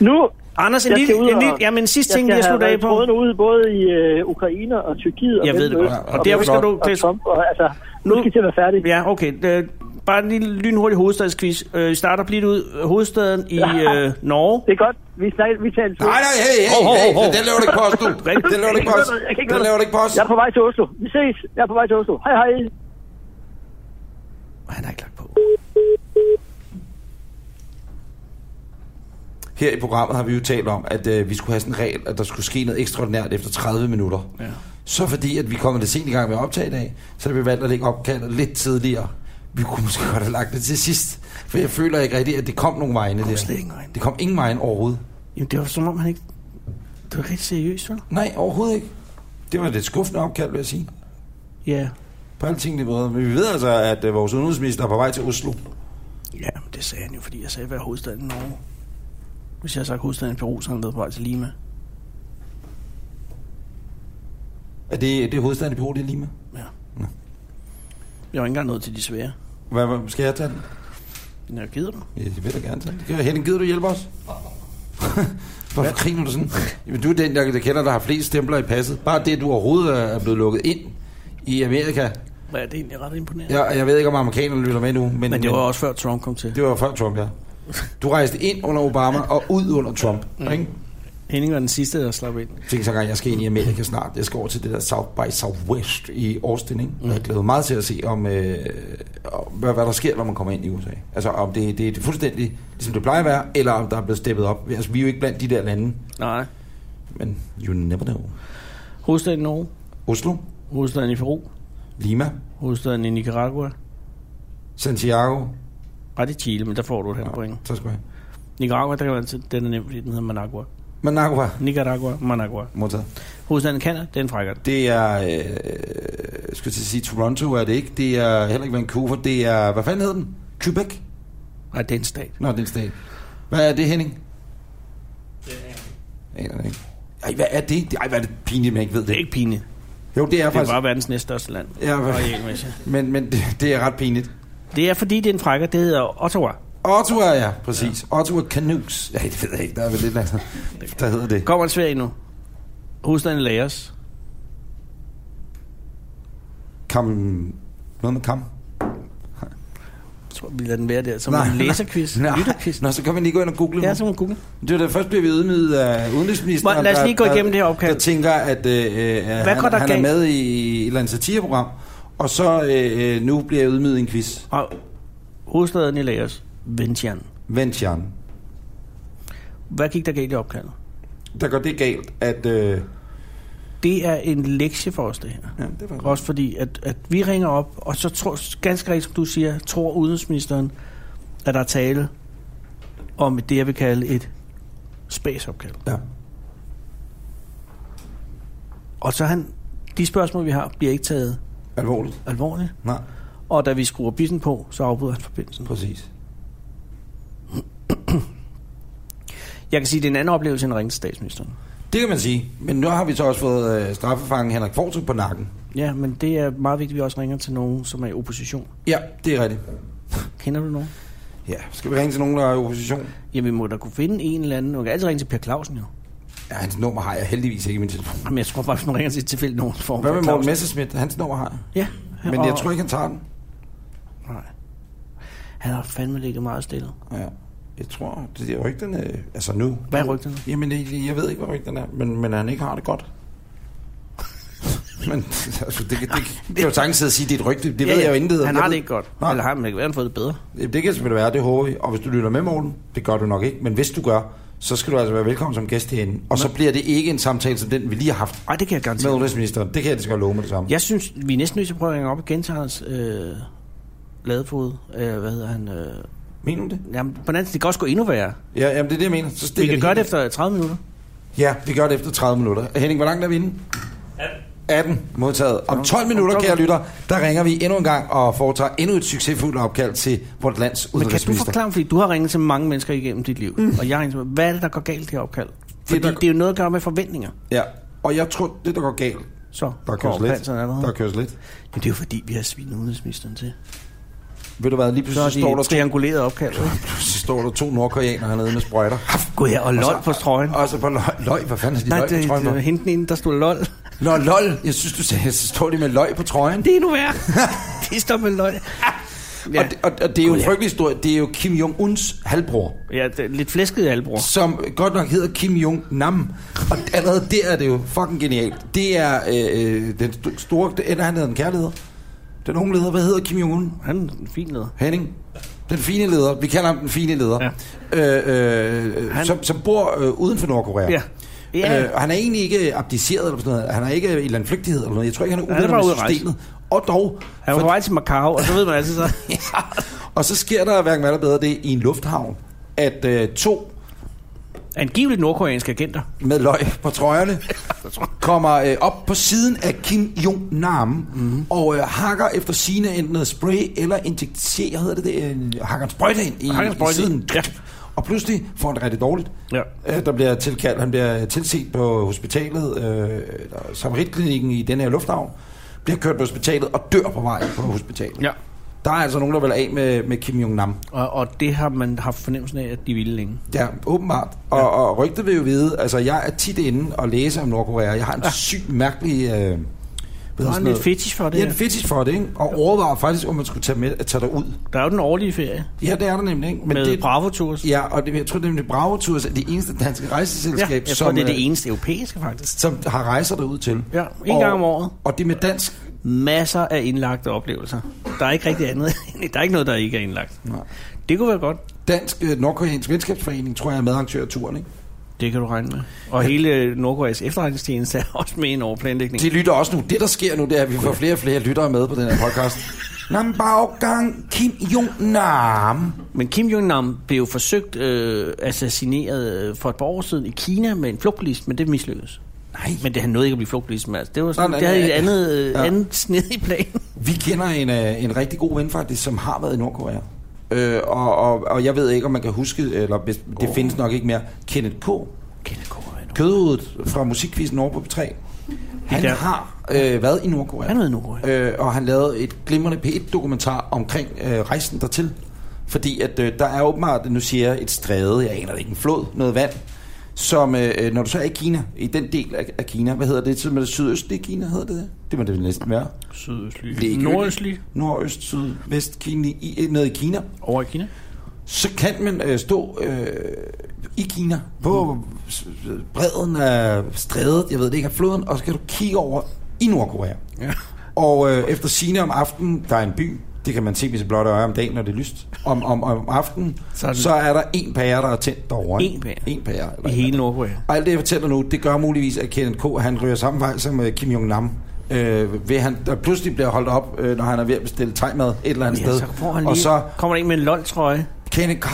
Speaker 4: Nu!
Speaker 2: Anders, en
Speaker 4: Jeg
Speaker 2: lille,
Speaker 4: skal ud
Speaker 2: en
Speaker 4: og-
Speaker 2: lille, ja, men sidste ting,
Speaker 4: jeg
Speaker 2: vi har
Speaker 4: skal have
Speaker 2: sluttet af
Speaker 4: været i trådene
Speaker 2: på.
Speaker 4: ude, både i øh, Ukraine og Tyrkiet og
Speaker 2: Jeg ved det godt.
Speaker 4: Mellemøsten
Speaker 3: Ja, og
Speaker 2: Og derfor skal
Speaker 3: flot.
Speaker 2: du...
Speaker 4: og Trump. Og, altså, nu,
Speaker 2: Nu-
Speaker 4: skal I til at være færdige.
Speaker 2: Ja, okay. Øh, Bare en lille lynhurtig hovedstadsquiz. Øh, Vi starter blidt ud. Hovedstaden i øh, Norge.
Speaker 4: Det er godt. Vi, snak, vi taler
Speaker 3: Nej, nej, hey, hey,
Speaker 2: Hov, hov,
Speaker 3: hey,
Speaker 2: hov, hov.
Speaker 3: den laver du ikke post,
Speaker 2: <laughs>
Speaker 3: du.
Speaker 2: Rigtigt.
Speaker 3: Den laver du ikke
Speaker 4: Jeg
Speaker 3: post.
Speaker 4: kan ikke høre
Speaker 3: Den
Speaker 4: dig.
Speaker 3: laver du ikke post.
Speaker 4: Jeg er på vej til Oslo. Vi ses. Jeg er på vej til Oslo. Hej, hej.
Speaker 2: Han har ikke lagt på.
Speaker 3: Her i programmet har vi jo talt om, at øh, vi skulle have sådan en regel, at der skulle ske noget ekstraordinært efter 30 minutter.
Speaker 2: Ja.
Speaker 3: Så fordi, at vi kommer det sent i gang med at optage i dag, så er det vi valgt at lægge opkaldet lidt tidligere. Vi kunne måske godt have lagt det til sidst, for jeg føler ikke rigtigt, at det kom nogen vegne der.
Speaker 2: slet ingen vegne.
Speaker 3: Det kom ingen vegne overhovedet.
Speaker 2: Jamen, det var som om, han ikke... Det var rigtig seriøst, vel?
Speaker 3: Nej, overhovedet ikke. Det var et lidt skuffende opkald, vil jeg sige.
Speaker 2: Ja.
Speaker 3: På alle tingene både. Men vi ved altså, at øh, vores udenrigsminister er på vej til Oslo.
Speaker 2: Ja, men det sagde han jo, fordi jeg sagde, hvad er hovedstaden i Norge? Hvis jeg havde sagt hovedstaden i Peru, så havde han været på vej til Lima.
Speaker 3: Er det, det er hovedstaden i Polen, det er Lima?
Speaker 2: Ja. Jeg var ikke engang nået til de svære.
Speaker 3: Hvad, hvad, skal jeg tage den?
Speaker 2: Nå, gider du?
Speaker 3: Ja, det vil jeg da gerne tage. Det gør jeg. Henning, gider du hjælpe os? <laughs> Hvorfor griner du sådan? Jamen, du er den, jeg, jeg kender, der har flest stempler i passet. Bare det, du overhovedet er blevet lukket ind i Amerika.
Speaker 2: Ja, det er egentlig ret imponerende. Ja,
Speaker 3: Jeg, jeg ved ikke, om amerikanerne lytter med nu, men,
Speaker 2: men det var også før Trump kom til.
Speaker 3: det var før Trump, ja. Du rejste ind under Obama og ud under Trump. Mm. Ikke?
Speaker 2: Henning var den sidste, der slap ind.
Speaker 3: Jeg tænkte så gang, jeg skal ind i Amerika snart. Jeg skal over til det der South by Southwest i Austin. Ikke? Mm. Jeg glæder mig meget til at se, om, øh, om, hvad, hvad der sker, når man kommer ind i USA. Altså om det, det, det er fuldstændig, ligesom det plejer at være, eller om der er blevet steppet op. Altså, vi er jo ikke blandt de der lande,
Speaker 2: Nej.
Speaker 3: men you never know.
Speaker 2: Hovedstaden i Norge,
Speaker 3: Oslo,
Speaker 2: hovedstaden i Peru,
Speaker 3: Lima,
Speaker 2: hovedstaden i Nicaragua.
Speaker 3: Santiago.
Speaker 2: Nej, det er Chile, men der får du et halvt
Speaker 3: Nå,
Speaker 2: ja.
Speaker 3: tak skal du have.
Speaker 2: Nicaragua, der kan man til, den er nem, fordi den hedder Managua.
Speaker 3: Managua,
Speaker 2: Nicaragua, Managua.
Speaker 3: modtaget.
Speaker 2: Hovedstaden i Canada, den frækker den.
Speaker 3: Det er, øh, jeg skulle til at sige, Toronto er det ikke. Det er heller ikke Vancouver. Det er, hvad fanden hed den? Quebec?
Speaker 2: Nej, det er en stat.
Speaker 3: Nå, det er en stat. Hvad er det, Henning? Det aner jeg ikke. Ej, hvad er det? Ej, hvad er det pinligt, man ikke ved
Speaker 2: Det er
Speaker 3: det.
Speaker 2: ikke pinligt.
Speaker 3: Jo, det er
Speaker 2: Det er
Speaker 3: faktisk...
Speaker 2: bare verdens næststørste land.
Speaker 3: Ja, hvad-
Speaker 2: arealmæssigt.
Speaker 3: men, men det, det er ret pinligt.
Speaker 2: Det er fordi, det er en frækker, det hedder Ottawa.
Speaker 3: Ottawa, ja, præcis. Ja. Ottawa Canucks. Ja, det ved jeg ikke. Der er vel lidt andet, der hedder det.
Speaker 2: Kommer en svær endnu. Hovedstaden i Laos.
Speaker 3: Kam... Noget med kam?
Speaker 2: Jeg tror, vi lader den være der. Som
Speaker 3: Nej,
Speaker 2: en
Speaker 3: nej.
Speaker 2: læserquiz.
Speaker 3: Nej.
Speaker 2: Lytterquiz.
Speaker 3: <laughs> Nå, så kan man lige gå ind og google
Speaker 2: Ja,
Speaker 3: nu.
Speaker 2: så må man google.
Speaker 3: Det var da først bliver vi ydmyget af udenrigsministeren.
Speaker 2: Må- lad os lige
Speaker 3: der-
Speaker 2: gå igennem
Speaker 3: der,
Speaker 2: det her opkald.
Speaker 3: Der tænker, at øh, øh,
Speaker 2: går
Speaker 3: han,
Speaker 2: der
Speaker 3: han er
Speaker 2: galt?
Speaker 3: med i et eller andet satireprogram, og så øh, øh, nu bliver jeg ydmyget i en quiz.
Speaker 2: Og hovedstaden i Laos, Vientiane.
Speaker 3: Vent, Jan.
Speaker 2: Hvad gik der galt i opkaldet?
Speaker 3: Der går det galt, at... Øh,
Speaker 2: Det er en lektie for os, det her.
Speaker 3: ja, det var
Speaker 2: Også fordi, at, at vi ringer op, og så tror, ganske rigtigt, som du siger, tror udenrigsministeren, at der er tale om det, jeg vil kalde et spaceopkald.
Speaker 3: Ja.
Speaker 2: Og så han, de spørgsmål, vi har, bliver ikke taget
Speaker 3: Alvorligt.
Speaker 2: alvorligt.
Speaker 3: Nej,
Speaker 2: Og da vi skruer bissen på, så afbryder han forbindelsen.
Speaker 3: præcis.
Speaker 2: Jeg kan sige, at det er en anden oplevelse end at ringe til statsministeren.
Speaker 3: Det kan man sige. Men nu har vi så også fået øh, straffefangen Henrik Fortrup på nakken.
Speaker 2: Ja, men det er meget vigtigt, at vi også ringer til nogen, som er i opposition.
Speaker 3: Ja, det er rigtigt.
Speaker 2: Kender du nogen?
Speaker 3: Ja, skal vi ringe til nogen, der er i opposition?
Speaker 2: Ja, vi må da kunne finde en eller anden. Du kan altid ringe til Per Clausen, jo.
Speaker 3: Ja, hans nummer har jeg heldigvis ikke i min telefon.
Speaker 2: Jamen, jeg tror bare, hvis man ringer til et tilfældigt nogen, så får man
Speaker 3: Hvad med
Speaker 2: Per
Speaker 3: Morten
Speaker 2: Clausen.
Speaker 3: Messerschmidt? Hans nummer har jeg.
Speaker 2: Ja.
Speaker 3: Men
Speaker 2: og-
Speaker 3: jeg tror ikke, han tager den.
Speaker 2: Nej. Han har fandme ligget meget stille.
Speaker 3: Ja. Jeg tror, det er rygterne... Altså nu...
Speaker 2: Hvad er rygterne?
Speaker 3: Jamen, jeg, jeg ved ikke, hvad rygterne er, men, men han ikke har det godt. <laughs> men altså, det, det, det, det er jo sagtens at sige, at det er et rygte. Det ved jeg jo intet om.
Speaker 2: Han
Speaker 3: Jeg
Speaker 2: har
Speaker 3: ved-
Speaker 2: det ikke godt.
Speaker 3: Nej.
Speaker 2: Eller har han, men han har fået det bedre.
Speaker 3: Jamen, Det kan selvfølgelig være, det håber vi. Og hvis du lytter med, Morten, det gør du nok ikke, men hvis du gør, så skal du altså være velkommen som gæst herinde. Og så bliver det ikke en samtale som den, vi lige har haft
Speaker 2: Nej, det kan jeg
Speaker 3: med
Speaker 2: garantere.
Speaker 3: udenrigsministeren. Det kan jeg lige så godt love med det samme.
Speaker 2: Jeg synes, vi er næsten nødt til at prøve at ringe op igen til hans øh, ladefod. Øh, hvad hedder han? Øh,
Speaker 3: Mener du det?
Speaker 2: jamen, på den anden side, det kan også gå endnu værre.
Speaker 3: Ja, jamen, det er det, jeg mener. Så
Speaker 2: Vi
Speaker 3: stikker
Speaker 2: kan gøre det
Speaker 3: helt-
Speaker 2: efter 30 minutter.
Speaker 3: Ja, vi gør det efter 30 minutter. Henning, hvor langt er vi inde? 18. 18. Modtaget. Om 12 minutter,
Speaker 2: om 12
Speaker 3: kære lytter, der ringer vi endnu en gang og foretager endnu et succesfuldt opkald til vores lands
Speaker 2: Men kan du
Speaker 3: udenrigsminister.
Speaker 2: forklare, fordi du har ringet til mange mennesker igennem dit liv, mm. og jeg har ringet til mig. hvad er det, der går galt i det her opkald? Fordi det,
Speaker 3: der-
Speaker 2: det er jo noget at gøre med forventninger.
Speaker 3: Ja, og jeg tror, det der går galt,
Speaker 2: Så,
Speaker 3: der køres lidt. Der køres lidt.
Speaker 2: Men det er jo fordi, vi har svinet udenrigsministeren til.
Speaker 3: Ved du hvad,
Speaker 2: Så
Speaker 3: lige pludselig så står
Speaker 2: har
Speaker 3: der
Speaker 2: de
Speaker 3: to
Speaker 2: trianguleret opkald. ikke?
Speaker 3: Så står der to nordkoreanere hernede med sprøjter.
Speaker 2: Gud ja, og lol
Speaker 3: så-
Speaker 2: på strøjen.
Speaker 3: Og så på løg. Løg, hvad fanden er de
Speaker 2: Nej,
Speaker 3: løg
Speaker 2: det,
Speaker 3: på
Speaker 2: det,
Speaker 3: trøjen?
Speaker 2: var hende den ene, der stod lol.
Speaker 3: på? Nå, lol. Jeg synes, du sagde, så står de med løg på trøjen.
Speaker 2: Det er endnu
Speaker 3: <laughs>
Speaker 2: værre. det står med løg.
Speaker 3: Ja. Og, det, og, og det er jo
Speaker 2: Gud,
Speaker 3: en
Speaker 2: ja.
Speaker 3: frygtelig historie. Det er jo Kim Jong-uns halvbror,
Speaker 2: Ja, det er lidt flæsket albror.
Speaker 3: som godt nok hedder Kim Jong-nam. Og allerede der er det jo fucking genialt. Det er øh, den st- store... Det, eller han hedder den kærlighed. Den unge leder, hvad hedder Kim Jong-un?
Speaker 2: Han er en fin leder.
Speaker 3: Henning. Den fine leder. Vi kalder ham den fine leder. Ja. Øh, øh,
Speaker 2: Han-
Speaker 3: han... som, som bor øh, uden for Nordkorea.
Speaker 2: Ja.
Speaker 3: Ja.
Speaker 2: Ja.
Speaker 3: Øh, og han er egentlig ikke abdiceret eller sådan noget. Han er ikke i eller anden flygtighed eller noget. Jeg tror ikke, han er
Speaker 2: Han er
Speaker 3: uvenner
Speaker 2: bare
Speaker 3: med
Speaker 2: ude at rejse.
Speaker 3: systemet. Og
Speaker 2: <laughs>
Speaker 3: dog.
Speaker 2: Han var på vej til Macau, og så ved man altid så.
Speaker 3: <laughs> og så sker der hverken hvad der bedre det i en lufthavn, at øh, to
Speaker 2: Angiveligt nordkoreanske agenter.
Speaker 3: med løg på trøjerne kommer øh, op på siden af Kim Jong Nam mm-hmm.
Speaker 2: Mhm.
Speaker 3: og øh, hakker efter sine enten noget spray eller injekterer, hedder det det, øh, hakker en sprøjte ind i,
Speaker 2: Hakker en sprøjte
Speaker 3: i siden.
Speaker 2: ind, ja.
Speaker 3: Og pludselig får han det rigtig dårligt.
Speaker 2: Ja.
Speaker 3: Øh, Der bliver tilkaldt, han bliver tilset på hospitalet, øh, eller Samariterklinikken i den her lufthavn, bliver kørt på hospitalet og dør på vej på hospitalet.
Speaker 2: Ja.
Speaker 3: Der er altså nogen, der vil af med, med Kim Jong-nam.
Speaker 2: Og, og det har man haft fornemmelsen af, at de ville længe.
Speaker 3: Ja, åbenbart. Og, ja. og rygtet vil jo vide, altså jeg er tit inde og læser om Nordkorea. Jeg har en ja. syg, mærkelig... Øh, hvad hedder
Speaker 2: Der er
Speaker 3: sådan
Speaker 2: en
Speaker 3: noget?
Speaker 2: lidt fetish for det.
Speaker 3: Ja, en
Speaker 2: Ja,
Speaker 3: fetish for det, ikke? Og overvejer faktisk, om man skulle tage, med, tage dig ud.
Speaker 2: der er jo den årlige ferie
Speaker 3: Ja, det er der nemlig, ikke?
Speaker 2: Men med
Speaker 3: det,
Speaker 2: det... Bravo Tours.
Speaker 3: Ja, og det, jeg tror, det er nemlig Bravo Tours, er det eneste danske rejseselskab,
Speaker 2: jeg tror,
Speaker 3: som,
Speaker 2: det er
Speaker 3: øh,
Speaker 2: det eneste europæiske, faktisk.
Speaker 3: som har rejser derud til.
Speaker 2: Ja, en
Speaker 3: og,
Speaker 2: gang om året.
Speaker 3: Og det er med dansk.
Speaker 2: Masser af indlagte oplevelser. Der er ikke rigtig andet. <laughs> der er ikke noget, der ikke er indlagt.
Speaker 3: Nej.
Speaker 2: Det kunne være godt.
Speaker 3: Dansk øh, Nordkoreansk Venskabsforening, tror jeg, er medarrangør af turen, ikke?
Speaker 2: Det kan du regne med. Og hele Nordkoreas efterretningstjeneste er også med i en overplanlægning.
Speaker 3: De lytter også nu. Det, der sker nu, det er, at vi får flere og flere lyttere med på den her podcast. Nambaogang Kim Jong-nam.
Speaker 2: Men Kim Jong-nam blev jo forsøgt øh, assassineret øh, for et par år siden i Kina med en flugtbilist, men det mislykkedes.
Speaker 3: Nej, men
Speaker 2: Men det han nåede ikke at blive flugtbilist med. Altså, det var sådan,
Speaker 3: Nå,
Speaker 2: det havde
Speaker 3: nej,
Speaker 2: et
Speaker 3: nej.
Speaker 2: andet, øh,
Speaker 3: Ja.
Speaker 2: andet sned i planen.
Speaker 3: vi kender en, øh, en rigtig god ven faktisk, som har været i Nordkorea. Øh, og, og, og jeg ved ikke, om man kan huske, eller hvis, det findes nok ikke mere, Kenneth K.
Speaker 2: Kenneth Kåre er nu.
Speaker 3: kødhovedet fra musikquizzen over på P3. Han
Speaker 2: der-
Speaker 3: har øh, været i Nordkorea.
Speaker 2: Han har været i Nordkorea.
Speaker 3: Øh, og han lavede et glimrende P1-dokumentar omkring øh, rejsen dertil. Fordi at øh, der er åbenbart, nu siger jeg, et stræde, jeg aner det ikke, en flod, noget vand, som, øh, øh, når du så er i Kina, i den del af, af Kina, hvad hedder det, som er det sydøstlige Kina, hedder det det? Det må det vel næsten være.
Speaker 2: Sydøstlig.
Speaker 3: Ligegyldigt.
Speaker 2: Nordøstlig.
Speaker 3: Nordøst, syd, vest, Kina, i, øh, nede i Kina
Speaker 2: Over i Kina.
Speaker 3: så kan man øh, stå øh, i Kina på s- bredden af strædet, jeg ved det ikke, af floden, og så kan du kigge over i Nordkorea.
Speaker 2: Ja.
Speaker 3: Og øh, efter sine om aftenen, der er en by, det kan man se med sit blotte øje om dagen, når det er lyst. Om, om, om aftenen,
Speaker 2: Så er
Speaker 3: så,
Speaker 2: den-
Speaker 3: så er der en pære, der er tændt derovre. ikke?
Speaker 2: En pære?
Speaker 3: En pære. Eller
Speaker 2: I hele Nordkorea.
Speaker 3: og alt det, jeg fortæller nu, det gør muligvis, at Kenneth K. han ryger samme vej som øh, Kim Jong-nam. Øh, ved han, der pludselig bliver holdt op, øh, når han er ved at bestille tegmad et eller andet
Speaker 2: Ja,
Speaker 3: sted.
Speaker 2: så får han lige,
Speaker 3: og så
Speaker 2: kommer der en med en lol-trøje.
Speaker 3: Kenneth K.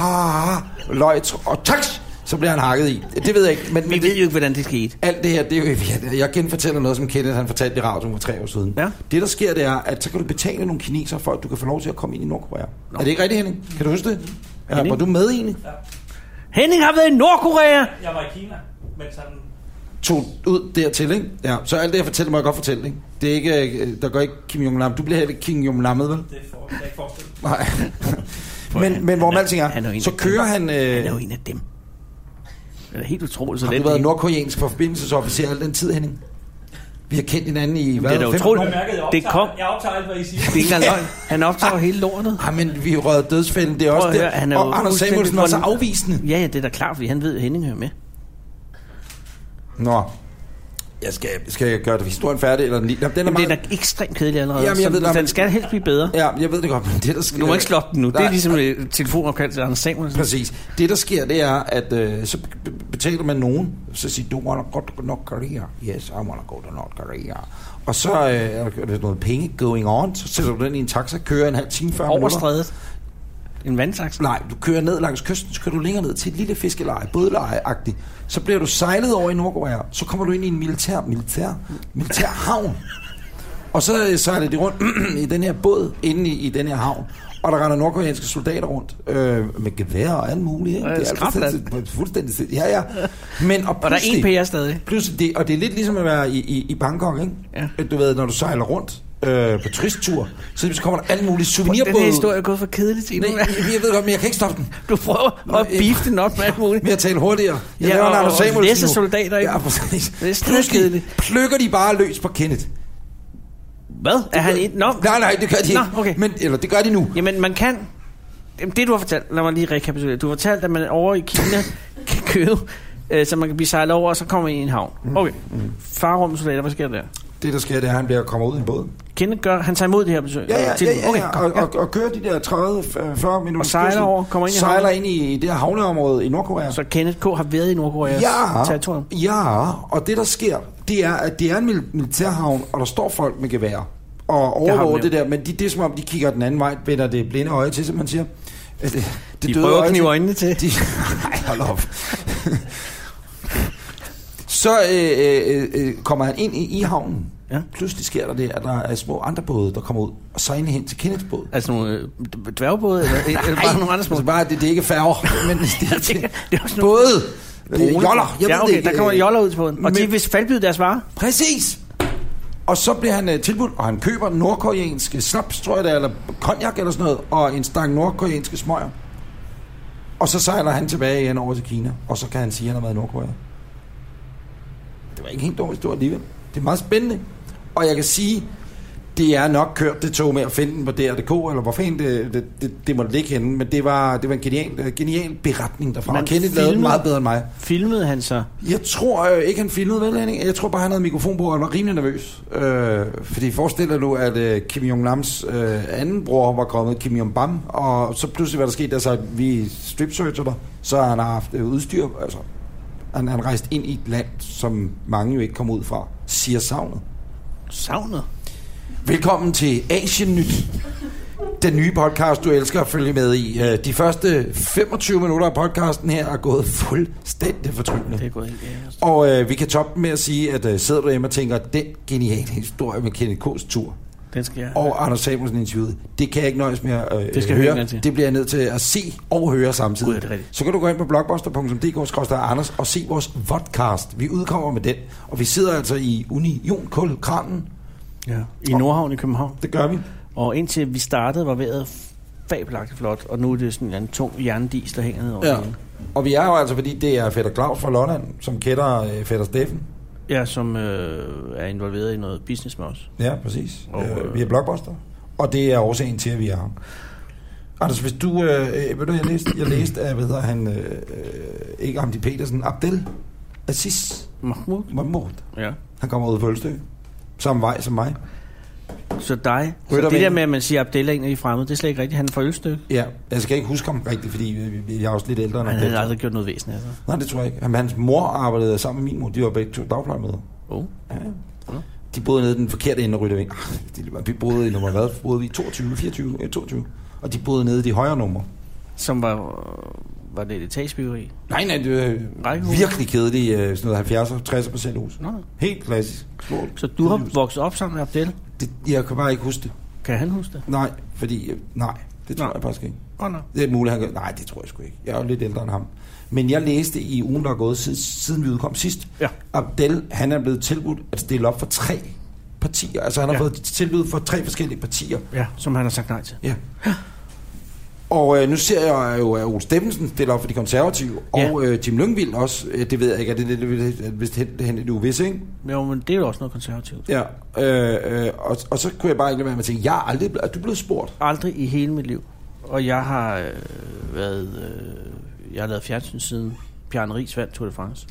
Speaker 3: løg tr- og taks, så bliver han hakket i. Det ved jeg ikke, men,
Speaker 2: Vi
Speaker 3: men
Speaker 2: ved
Speaker 3: det,
Speaker 2: jo ikke, hvordan det skete.
Speaker 3: alt det her, det er jo, <laughs> jeg, jeg genfortæller noget, som Kenneth han fortalte i radioen for tre år siden.
Speaker 2: Ja.
Speaker 3: Det, der sker, det er, at så kan du betale nogle kinesere for, at du kan få lov til at komme ind i Nordkorea. Er det ikke rigtigt, Henning? Kan du huske det? Ja,
Speaker 2: Henning?
Speaker 3: var du med egentlig?
Speaker 2: Henning har været i Nordkorea!
Speaker 5: Jeg var i Kina, mens han...
Speaker 3: tog ud dertil, ikke? Ja, så alt det, jeg fortæller, må jeg godt fortælle, ikke? Det er ikke, øh, der går ikke Kim Jong-nam. Du bliver heller ikke Kim Jong-nammet, vel? <laughs>
Speaker 5: Det for, jeg ikke forestille mig.
Speaker 3: Nej. men, men hvor
Speaker 2: han er-
Speaker 3: man alting
Speaker 2: han er jo
Speaker 3: er,
Speaker 2: en
Speaker 3: så
Speaker 2: af
Speaker 3: kører
Speaker 2: Han
Speaker 3: han...
Speaker 2: er
Speaker 3: Øh,
Speaker 2: jo en af dem. Det er helt utroligt. Så
Speaker 3: har
Speaker 2: den
Speaker 3: du været
Speaker 2: del-
Speaker 3: nordkoreansk forbindelsesofficer al den tid, Henning? Vi har kendt hinanden i, hvad?
Speaker 2: da
Speaker 3: fem
Speaker 2: utroligt.
Speaker 3: år?
Speaker 5: Jeg mærkede, jeg
Speaker 2: Det
Speaker 5: optager,
Speaker 2: kom.
Speaker 5: jeg optager alt, hvad I siger.
Speaker 2: Det er ikke engang løgn. Han
Speaker 3: Ah.
Speaker 2: optager hele lortet.
Speaker 3: Ej, men vi rød dødsfælden, det er
Speaker 2: Prøv
Speaker 3: også
Speaker 2: at
Speaker 3: der.
Speaker 2: høre, han er jo
Speaker 3: og Anders
Speaker 2: fuldstændig
Speaker 3: Samuelsen var så
Speaker 2: forn-
Speaker 3: afvisende.
Speaker 2: Ja, ja, det er da klart, fordi han ved, at Henning hører med.
Speaker 3: Nå, jeg skal, skal jeg gøre det historien færdig, eller den lige? Nå, Den er
Speaker 2: Jamen,
Speaker 3: meget,
Speaker 2: det er da ekstremt kedeligt allerede.
Speaker 3: Jamen, jeg
Speaker 2: så
Speaker 3: ved det,
Speaker 2: den
Speaker 3: men-
Speaker 2: skal helst blive bedre.
Speaker 3: Ja, jeg ved det godt, men det der sker...
Speaker 2: Du må ikke slå den nu. Det er
Speaker 3: Nej.
Speaker 2: ligesom et telefonopkald til Anders Samuelsen.
Speaker 3: Præcis. Det, der sker, det er, at øh, så be- be- betaler man nogen, så siger du wanna go to North Korea. Yes, I wanna go to North Korea. Og så øh, er der noget penge going on, så sætter du den i en taxa, kører en halv time før
Speaker 2: Over strædet. En vandsaks.
Speaker 3: Nej, du kører ned langs kysten, så kører du længere ned til et lille fiskeleje, bådeleje-agtigt. Så bliver du sejlet over i Nordkorea, så kommer du ind i en militær, militær, militær havn. Og så øh, sejler de rundt <clears throat> i den her båd inde i, i den her havn. Og der render nordkoreanske soldater rundt øh, med gevær og alt muligt. Ikke?
Speaker 2: Ja,
Speaker 3: alt
Speaker 2: skrabland.
Speaker 3: fuldstændig, fuldstændig sind- Ja, ja. Men, og,
Speaker 2: Og der er en
Speaker 3: pludselig-
Speaker 2: PR stadig.
Speaker 3: Pludselig, det, og det er lidt ligesom at være i, i, i Bangkok, ikke?
Speaker 2: Ja.
Speaker 3: Du ved, når du sejler rundt øh, på turisttur, så kommer der alle mulige
Speaker 2: Den her
Speaker 3: souvenirbåde.
Speaker 2: historie er gået for kedeligt til
Speaker 3: Nej,
Speaker 2: nu.
Speaker 3: jeg, jeg ved godt, men jeg kan ikke stoppe den
Speaker 2: Du prøver at
Speaker 3: Nå, jeg-
Speaker 2: beef den op med alt muligt.
Speaker 3: med at tale hurtigere. Jeg
Speaker 2: Ja,
Speaker 3: ja, laver en
Speaker 2: og-
Speaker 3: Anders
Speaker 2: og
Speaker 3: Samuelsen
Speaker 2: læse
Speaker 3: nu.
Speaker 2: soldater, ikke?
Speaker 3: Ja, præcis.
Speaker 2: Det er stadig
Speaker 3: Pludselig
Speaker 2: kedeligt.
Speaker 3: plukker de bare løs på Kenneth.
Speaker 2: Hvad? Er han en? Nå,
Speaker 3: Nej, nej, det gør de
Speaker 2: Nå,
Speaker 3: ikke.
Speaker 2: okay.
Speaker 3: Men, eller det gør de nu.
Speaker 2: Jamen, man kan... Jamen, det, du har fortalt... Lad mig lige rekapitulere. Du har fortalt, at man over i Kina <laughs> kan købe... Øh, så man kan blive sejlet over, og så kommer man ind i en havn.
Speaker 3: Mm.
Speaker 2: Okay. Farrum soldater, hvad sker der der?
Speaker 3: Det, der sker, det er, at han bliver kommet ud i en båd.
Speaker 2: Kenneth gør... Han tager imod det her besøg.
Speaker 3: Ja, ja,
Speaker 2: til-
Speaker 3: ja, ja,
Speaker 2: Okay,
Speaker 3: ja.
Speaker 2: godt,
Speaker 3: Og, og, og kører de der 30-40 minutter.
Speaker 2: Og sejler over, kommer ind i
Speaker 3: Sejler
Speaker 2: havnen.
Speaker 3: ind i det her havneområde i Nordkorea.
Speaker 2: Så Kenneth K. har været i Nordkoreas
Speaker 3: Ja,
Speaker 2: territorium.
Speaker 3: ja, og det der sker, det er, at det er en mil- militærhavn, og der står folk med gevær og
Speaker 2: har vi
Speaker 3: overvåger det,
Speaker 2: nævnt.
Speaker 3: der, men de, det er som om, de kigger den anden vej, vender det blinde øje til, som man siger. Øh, Det, det
Speaker 2: De
Speaker 3: døde
Speaker 2: prøver at
Speaker 3: øje
Speaker 2: knive
Speaker 3: <laughs>
Speaker 2: øjnene til.
Speaker 3: De, nej, hold op. Så øh, øh, øh, kommer han ind i, i havnen.
Speaker 2: Ja.
Speaker 3: Ja. Pludselig sker der det, at der er små andre både, der kommer ud og sejler hen til Kenneths båd.
Speaker 2: Altså nogle øh, dværgbåde, eller, eller bare nogle andre små...
Speaker 3: Altså bare, det, det er ikke færger, men det, det,
Speaker 2: tænker,
Speaker 3: det,
Speaker 2: <laughs> det er også nogle-
Speaker 3: både. Det er
Speaker 2: Drone.
Speaker 3: øh, joller. Jeg
Speaker 2: ja,
Speaker 3: ved
Speaker 2: okay,
Speaker 3: det ikke.
Speaker 2: der kommer
Speaker 3: øh,
Speaker 2: joller ud på den. Og men... de
Speaker 3: men-
Speaker 2: vil falbyde deres varer.
Speaker 3: Præcis! Og så bliver han øh, tilbudt, og han køber nordkoreanske snaps, tror jeg det er, eller cognac eller sådan noget, og en stak nordkoreanske smøger. Og så sejler han tilbage igen over til Kina, og så kan han sige, at han har været i Nordkorea. Det var ikke helt dårligt stort alligevel. Det er meget spændende. Og jeg kan sige, det er nok kørt det tog med at finde den på DR.dk, eller hvor fanden det, det, det, det måtte ligge henne. Men det var, det var en genial, genial beretning derfra.
Speaker 2: Man
Speaker 3: Man og Kenneth lavede den
Speaker 2: filmer-
Speaker 3: meget bedre end mig.
Speaker 2: Filmede han sig?
Speaker 3: Jeg tror øh, ikke, han filmede vel, Henning? Jeg tror bare, han havde mikrofon på, og han var rimelig nervøs. Øh, fordi forestil dig nu, at øh, Kim Jong-nams øh, anden bror var kommet, Kim Jong-bam, og så pludselig var der sket, altså, at vi strip der, så han har haft øh, udstyr, altså, han, han rejst ind i et land, som mange jo ikke kom ud fra, siger savnet.
Speaker 2: Savnet?
Speaker 3: Velkommen til Asien Nyt. Den nye podcast, du elsker at følge med i. Øh, De første 25 minutter af podcasten her er gået fuldstændig fortryllende.
Speaker 2: Det er gået helt galt.
Speaker 3: Og øh, vi kan toppe den med at sige, at øh, sidder du hjemme og tænker, den geniale historie med Kenneth K's tur
Speaker 2: Den skal jeg...
Speaker 3: og Anders Samuelsen interviewet, det kan jeg ikke nøjes med at øh,
Speaker 2: Det skal jeg høre en
Speaker 3: høre.
Speaker 2: gang til.
Speaker 3: Det bliver jeg nødt til at se og høre samtidig.
Speaker 2: Gud, er det rigtigt.
Speaker 3: Så kan du gå ind på blogbuster.dk Anders og se vores vodcast. Vi udkommer med den, og vi sidder altså i Union Kul Kranen.
Speaker 2: Ja. I Nordhavn i København.
Speaker 3: Det gør vi.
Speaker 2: Og indtil vi startede, var vejret fabelagtigt flot, og nu er det sådan en eller anden tung jerndis, der hænger ned over
Speaker 3: Ja.
Speaker 2: ja.
Speaker 3: Og vi er jo altså, fordi det er Fætter Claus fra Lolland, som kender øh, Fætter Steffen.
Speaker 2: ja, som øh, er involveret i noget business med os.
Speaker 3: Ja, præcis.
Speaker 2: Og,
Speaker 3: Og,
Speaker 2: øh,
Speaker 3: øh, vi er blockbuster. Og det er årsagen til, at vi er ham. Anders, hvis du... Øh, øh, ved du, jeg læste, jeg læste af, hvad hedder han... Øh, øh, ikke Amdi Petersen. Abdel Aziz
Speaker 2: Mahmoud?
Speaker 3: Mahmoud.
Speaker 2: Ja.
Speaker 3: Han kommer ud på Ølstø. Samme vej som mig.
Speaker 2: Så dig. Så
Speaker 3: Rytter
Speaker 2: det der
Speaker 3: vingen.
Speaker 2: med, at man siger, at Abdel er en af de fremmede, det er slet ikke rigtigt. Han er fra Ølstykke.
Speaker 3: Ja, jeg skal ikke huske ham rigtigt, fordi vi- vi- jeg er også lidt ældre end
Speaker 2: Han
Speaker 3: Abdel.
Speaker 2: havde aldrig gjort noget væsen af sig.
Speaker 3: Nej, det tror jeg ikke. Jamen, hans mor arbejdede sammen med min mor. De var begge to dagplejemøder.
Speaker 2: Oh.
Speaker 3: De boede nede i den forkerte ende af Ah, Rytterving. Vi boede i nummer hvad? Boede vi i 22, 24, ja, 22. Og de boede nede i de højere numre.
Speaker 2: Som var, øh, var det et etagebyggeri.
Speaker 3: Nej, nej, det er øh,
Speaker 2: Rækkehus.
Speaker 3: virkelig kedelige øh, sådan noget 70-60 procent hus.
Speaker 2: Nå, nå.
Speaker 3: Helt klassisk. Små.
Speaker 2: Så du har vokset op sammen med Abdel.
Speaker 3: Det, jeg kan bare ikke huske det.
Speaker 2: Kan han huske det?
Speaker 3: Nej, fordi... øh, Nej, det tror
Speaker 2: Nå.
Speaker 3: jeg faktisk ikke.
Speaker 2: Åh, oh, nej.
Speaker 3: Det er muligt, han gør. Nej, det tror jeg sgu ikke. Jeg er jo lidt ældre end ham. Men jeg læste i ugen, der er gået, siden, siden vi udkom sidst.
Speaker 2: Ja.
Speaker 3: Abdel, han er blevet tilbudt at stille op for tre partier. Altså, han har
Speaker 2: Ja.
Speaker 3: ja. fået tilbud for tre forskellige partier.
Speaker 2: Ja, som han har sagt nej til.
Speaker 3: Ja. Og øh, nu ser jeg jo, at Ole Steffensen stiller op for de konservative,
Speaker 2: Ja.
Speaker 3: og øh, Jim Lyngvild også. Øh, det ved jeg ikke, er det, det, det, det vist hen, det hen lidt uvis, ikke?
Speaker 2: Jo, men det er jo også noget konservativt.
Speaker 3: Ja. Øh, øh, og, og, så kunne jeg bare ikke lade være med at tænke, jeg er aldrig blevet, er du blevet spurgt?
Speaker 2: Aldrig i hele mit liv. Og jeg har øh, været... Øh, jeg har lavet fjernsyn siden Bjarne Ries vandt Tour de France.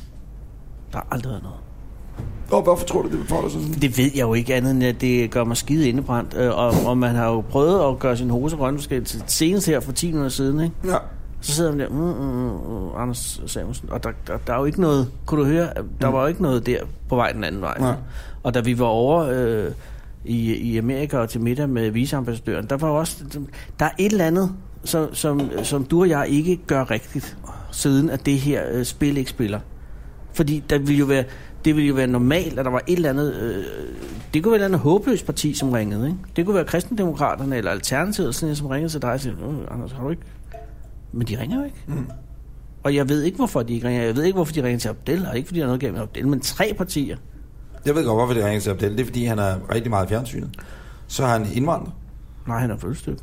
Speaker 2: Der har aldrig været noget.
Speaker 3: Og hvorfor tror du, det får dig sådan?
Speaker 2: Det ved jeg jo ikke andet end, at det gør mig skide indebrændt. Øh, og, og man har jo prøvet at gøre sin hose grønne forskel til senest her for 10 minutter siden, ikke?
Speaker 3: Ja.
Speaker 2: Så sidder man der, mm, mm, mm, Anders Samuelsen, og der, der, der er jo ikke noget, kunne du høre, der var jo ikke noget der på vej den anden vej.
Speaker 3: Nej.
Speaker 2: Og da vi var over øh, i, i Amerika og til middag med viceambassadøren, der var jo også, der er et eller andet, som, som, som du og jeg ikke gør rigtigt, siden at det her øh, spil ikke spiller. Fordi der ville jo være, det ville jo være normalt, at der var et eller andet... Øh, det kunne være et eller andet håbløst parti, som ringede. Ikke? Det kunne være kristendemokraterne eller Alternativet, eller sådan noget, som ringede til dig og sagde, "Øh, Anders, har du ikke... Men de ringer jo ikke. Mm. Og jeg ved ikke, hvorfor de ikke ringer. Jeg ved ikke, hvorfor de ringer til Abdel, og ikke fordi der er noget galt med Abdel, men tre partier.
Speaker 3: Jeg ved godt, hvorfor det ringer til Abdel. Det er, fordi han er rigtig meget i fjernsynet. Så er han indvandrer.
Speaker 2: Nej, han er følstykke.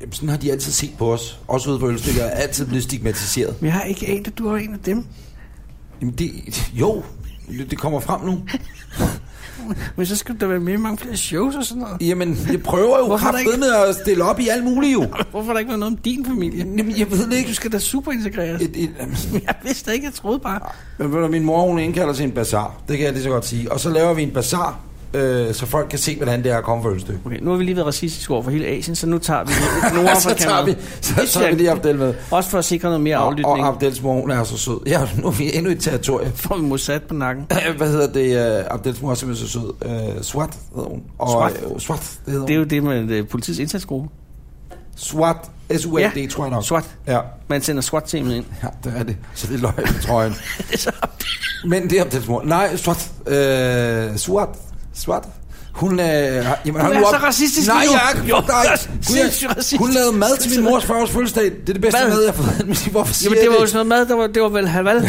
Speaker 3: Jamen, sådan har de altid set på os. Også ude på Ølstykker er altid blevet stigmatiseret.
Speaker 2: Men jeg har ikke anet, at du er en af dem.
Speaker 3: Jamen, det, jo, det kommer frem nu.
Speaker 2: Men så skal der være med i mange flere shows og sådan noget.
Speaker 3: Jamen, jeg prøver jo
Speaker 2: Hvorfor er der
Speaker 3: kraftedet med at stille op i alt muligt jo.
Speaker 2: Hvorfor har der ikke været noget om din familie?
Speaker 3: Jamen, jeg ved det
Speaker 2: Du
Speaker 3: ikke.
Speaker 2: skal da super integreres.
Speaker 3: Et, et,
Speaker 2: <laughs> Jeg vidste ikke, jeg troede bare.
Speaker 3: men ved du, min mor, hun indkalder til en bazar. Det kan jeg lige så godt sige. Og så laver vi en bazar, øh, så folk kan se, hvordan det er at komme for ølstykke.
Speaker 2: Okay, nu har vi lige været racistiske over for hele Asien, så nu tager vi <laughs>
Speaker 3: <laughs>
Speaker 2: Nordafrika
Speaker 3: Altså, så tager vi, så tager vi lige Abdel med.
Speaker 2: Også for at sikre noget mere
Speaker 3: Og,
Speaker 2: aflytning.
Speaker 3: og
Speaker 2: Og,
Speaker 3: Abdels mor, hun er så sød. Ja, nu er vi endnu i et territorie. <laughs>
Speaker 2: får vi Mossad på nakken.
Speaker 3: Hvad hedder det? øh, Abdels mor er simpelthen så sød. Uh, SWAT hedder hun. Og,
Speaker 2: Swat?
Speaker 3: øh, SWAT, det hedder
Speaker 2: Det er
Speaker 3: hun.
Speaker 2: jo det med uh, politiets indsatsgruppe.
Speaker 3: SWAT, S-U-A-T,
Speaker 2: Ja,
Speaker 3: tror jeg nok.
Speaker 2: SWAT.
Speaker 3: Ja.
Speaker 2: Man sender SWAT-teamet <laughs> ind.
Speaker 3: ja, det er det. Så det er løgn i trøjen.
Speaker 2: det er så
Speaker 3: Men det er Abdels mor. Nej, SWAT. Uh, SWAT. SWAT. Hun, øh, har- jamen, hold
Speaker 2: er
Speaker 3: nu
Speaker 2: så
Speaker 3: op.
Speaker 2: racistisk
Speaker 3: Nej,
Speaker 2: lige nu.
Speaker 3: jeg er ikke.
Speaker 2: Jo,
Speaker 3: Nej,
Speaker 2: du er
Speaker 3: Gud, jeg-
Speaker 2: <laughs> sindssygt racistisk.
Speaker 3: Hun lavede mad til min mors 40 fødselsdag. Det er det bedste
Speaker 2: Hvad?
Speaker 3: mad, jeg har fået. <laughs> Men Hvorfor siger
Speaker 2: Jamen, det
Speaker 3: jeg
Speaker 2: var jo sådan noget mad, der
Speaker 3: <laughs>
Speaker 2: var, det var vel halal.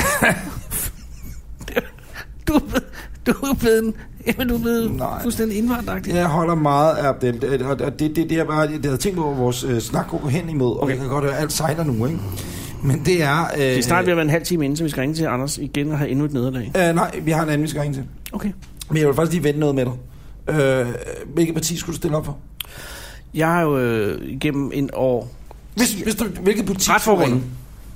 Speaker 2: du, er blevet- du er blevet en, Jamen, du er blevet
Speaker 3: Nej. Øh.
Speaker 2: fuldstændig indvandreragtig.
Speaker 3: Jeg holder meget af Abdel, og- og det, det, det, jeg, bare, det havde tænkt på, hvor vores øh, snak går hen imod, og jeg kan godt høre, at alt sejler nu, ikke? Men det er... Øh,
Speaker 2: Det er snart ved at være en halv time inden, så vi skal ringe til Anders igen og have endnu et nederlag.
Speaker 3: øh, nej, vi har en anden, vi skal ringe til.
Speaker 2: Okay.
Speaker 3: Men jeg vil faktisk lige vende noget med dig. Øh, hvilket parti skulle du stille op for?
Speaker 2: Jeg har jo øh, igennem en år...
Speaker 3: Hvis, hvis du, hvilket parti skulle du
Speaker 2: Retsforbundet.
Speaker 3: ringe?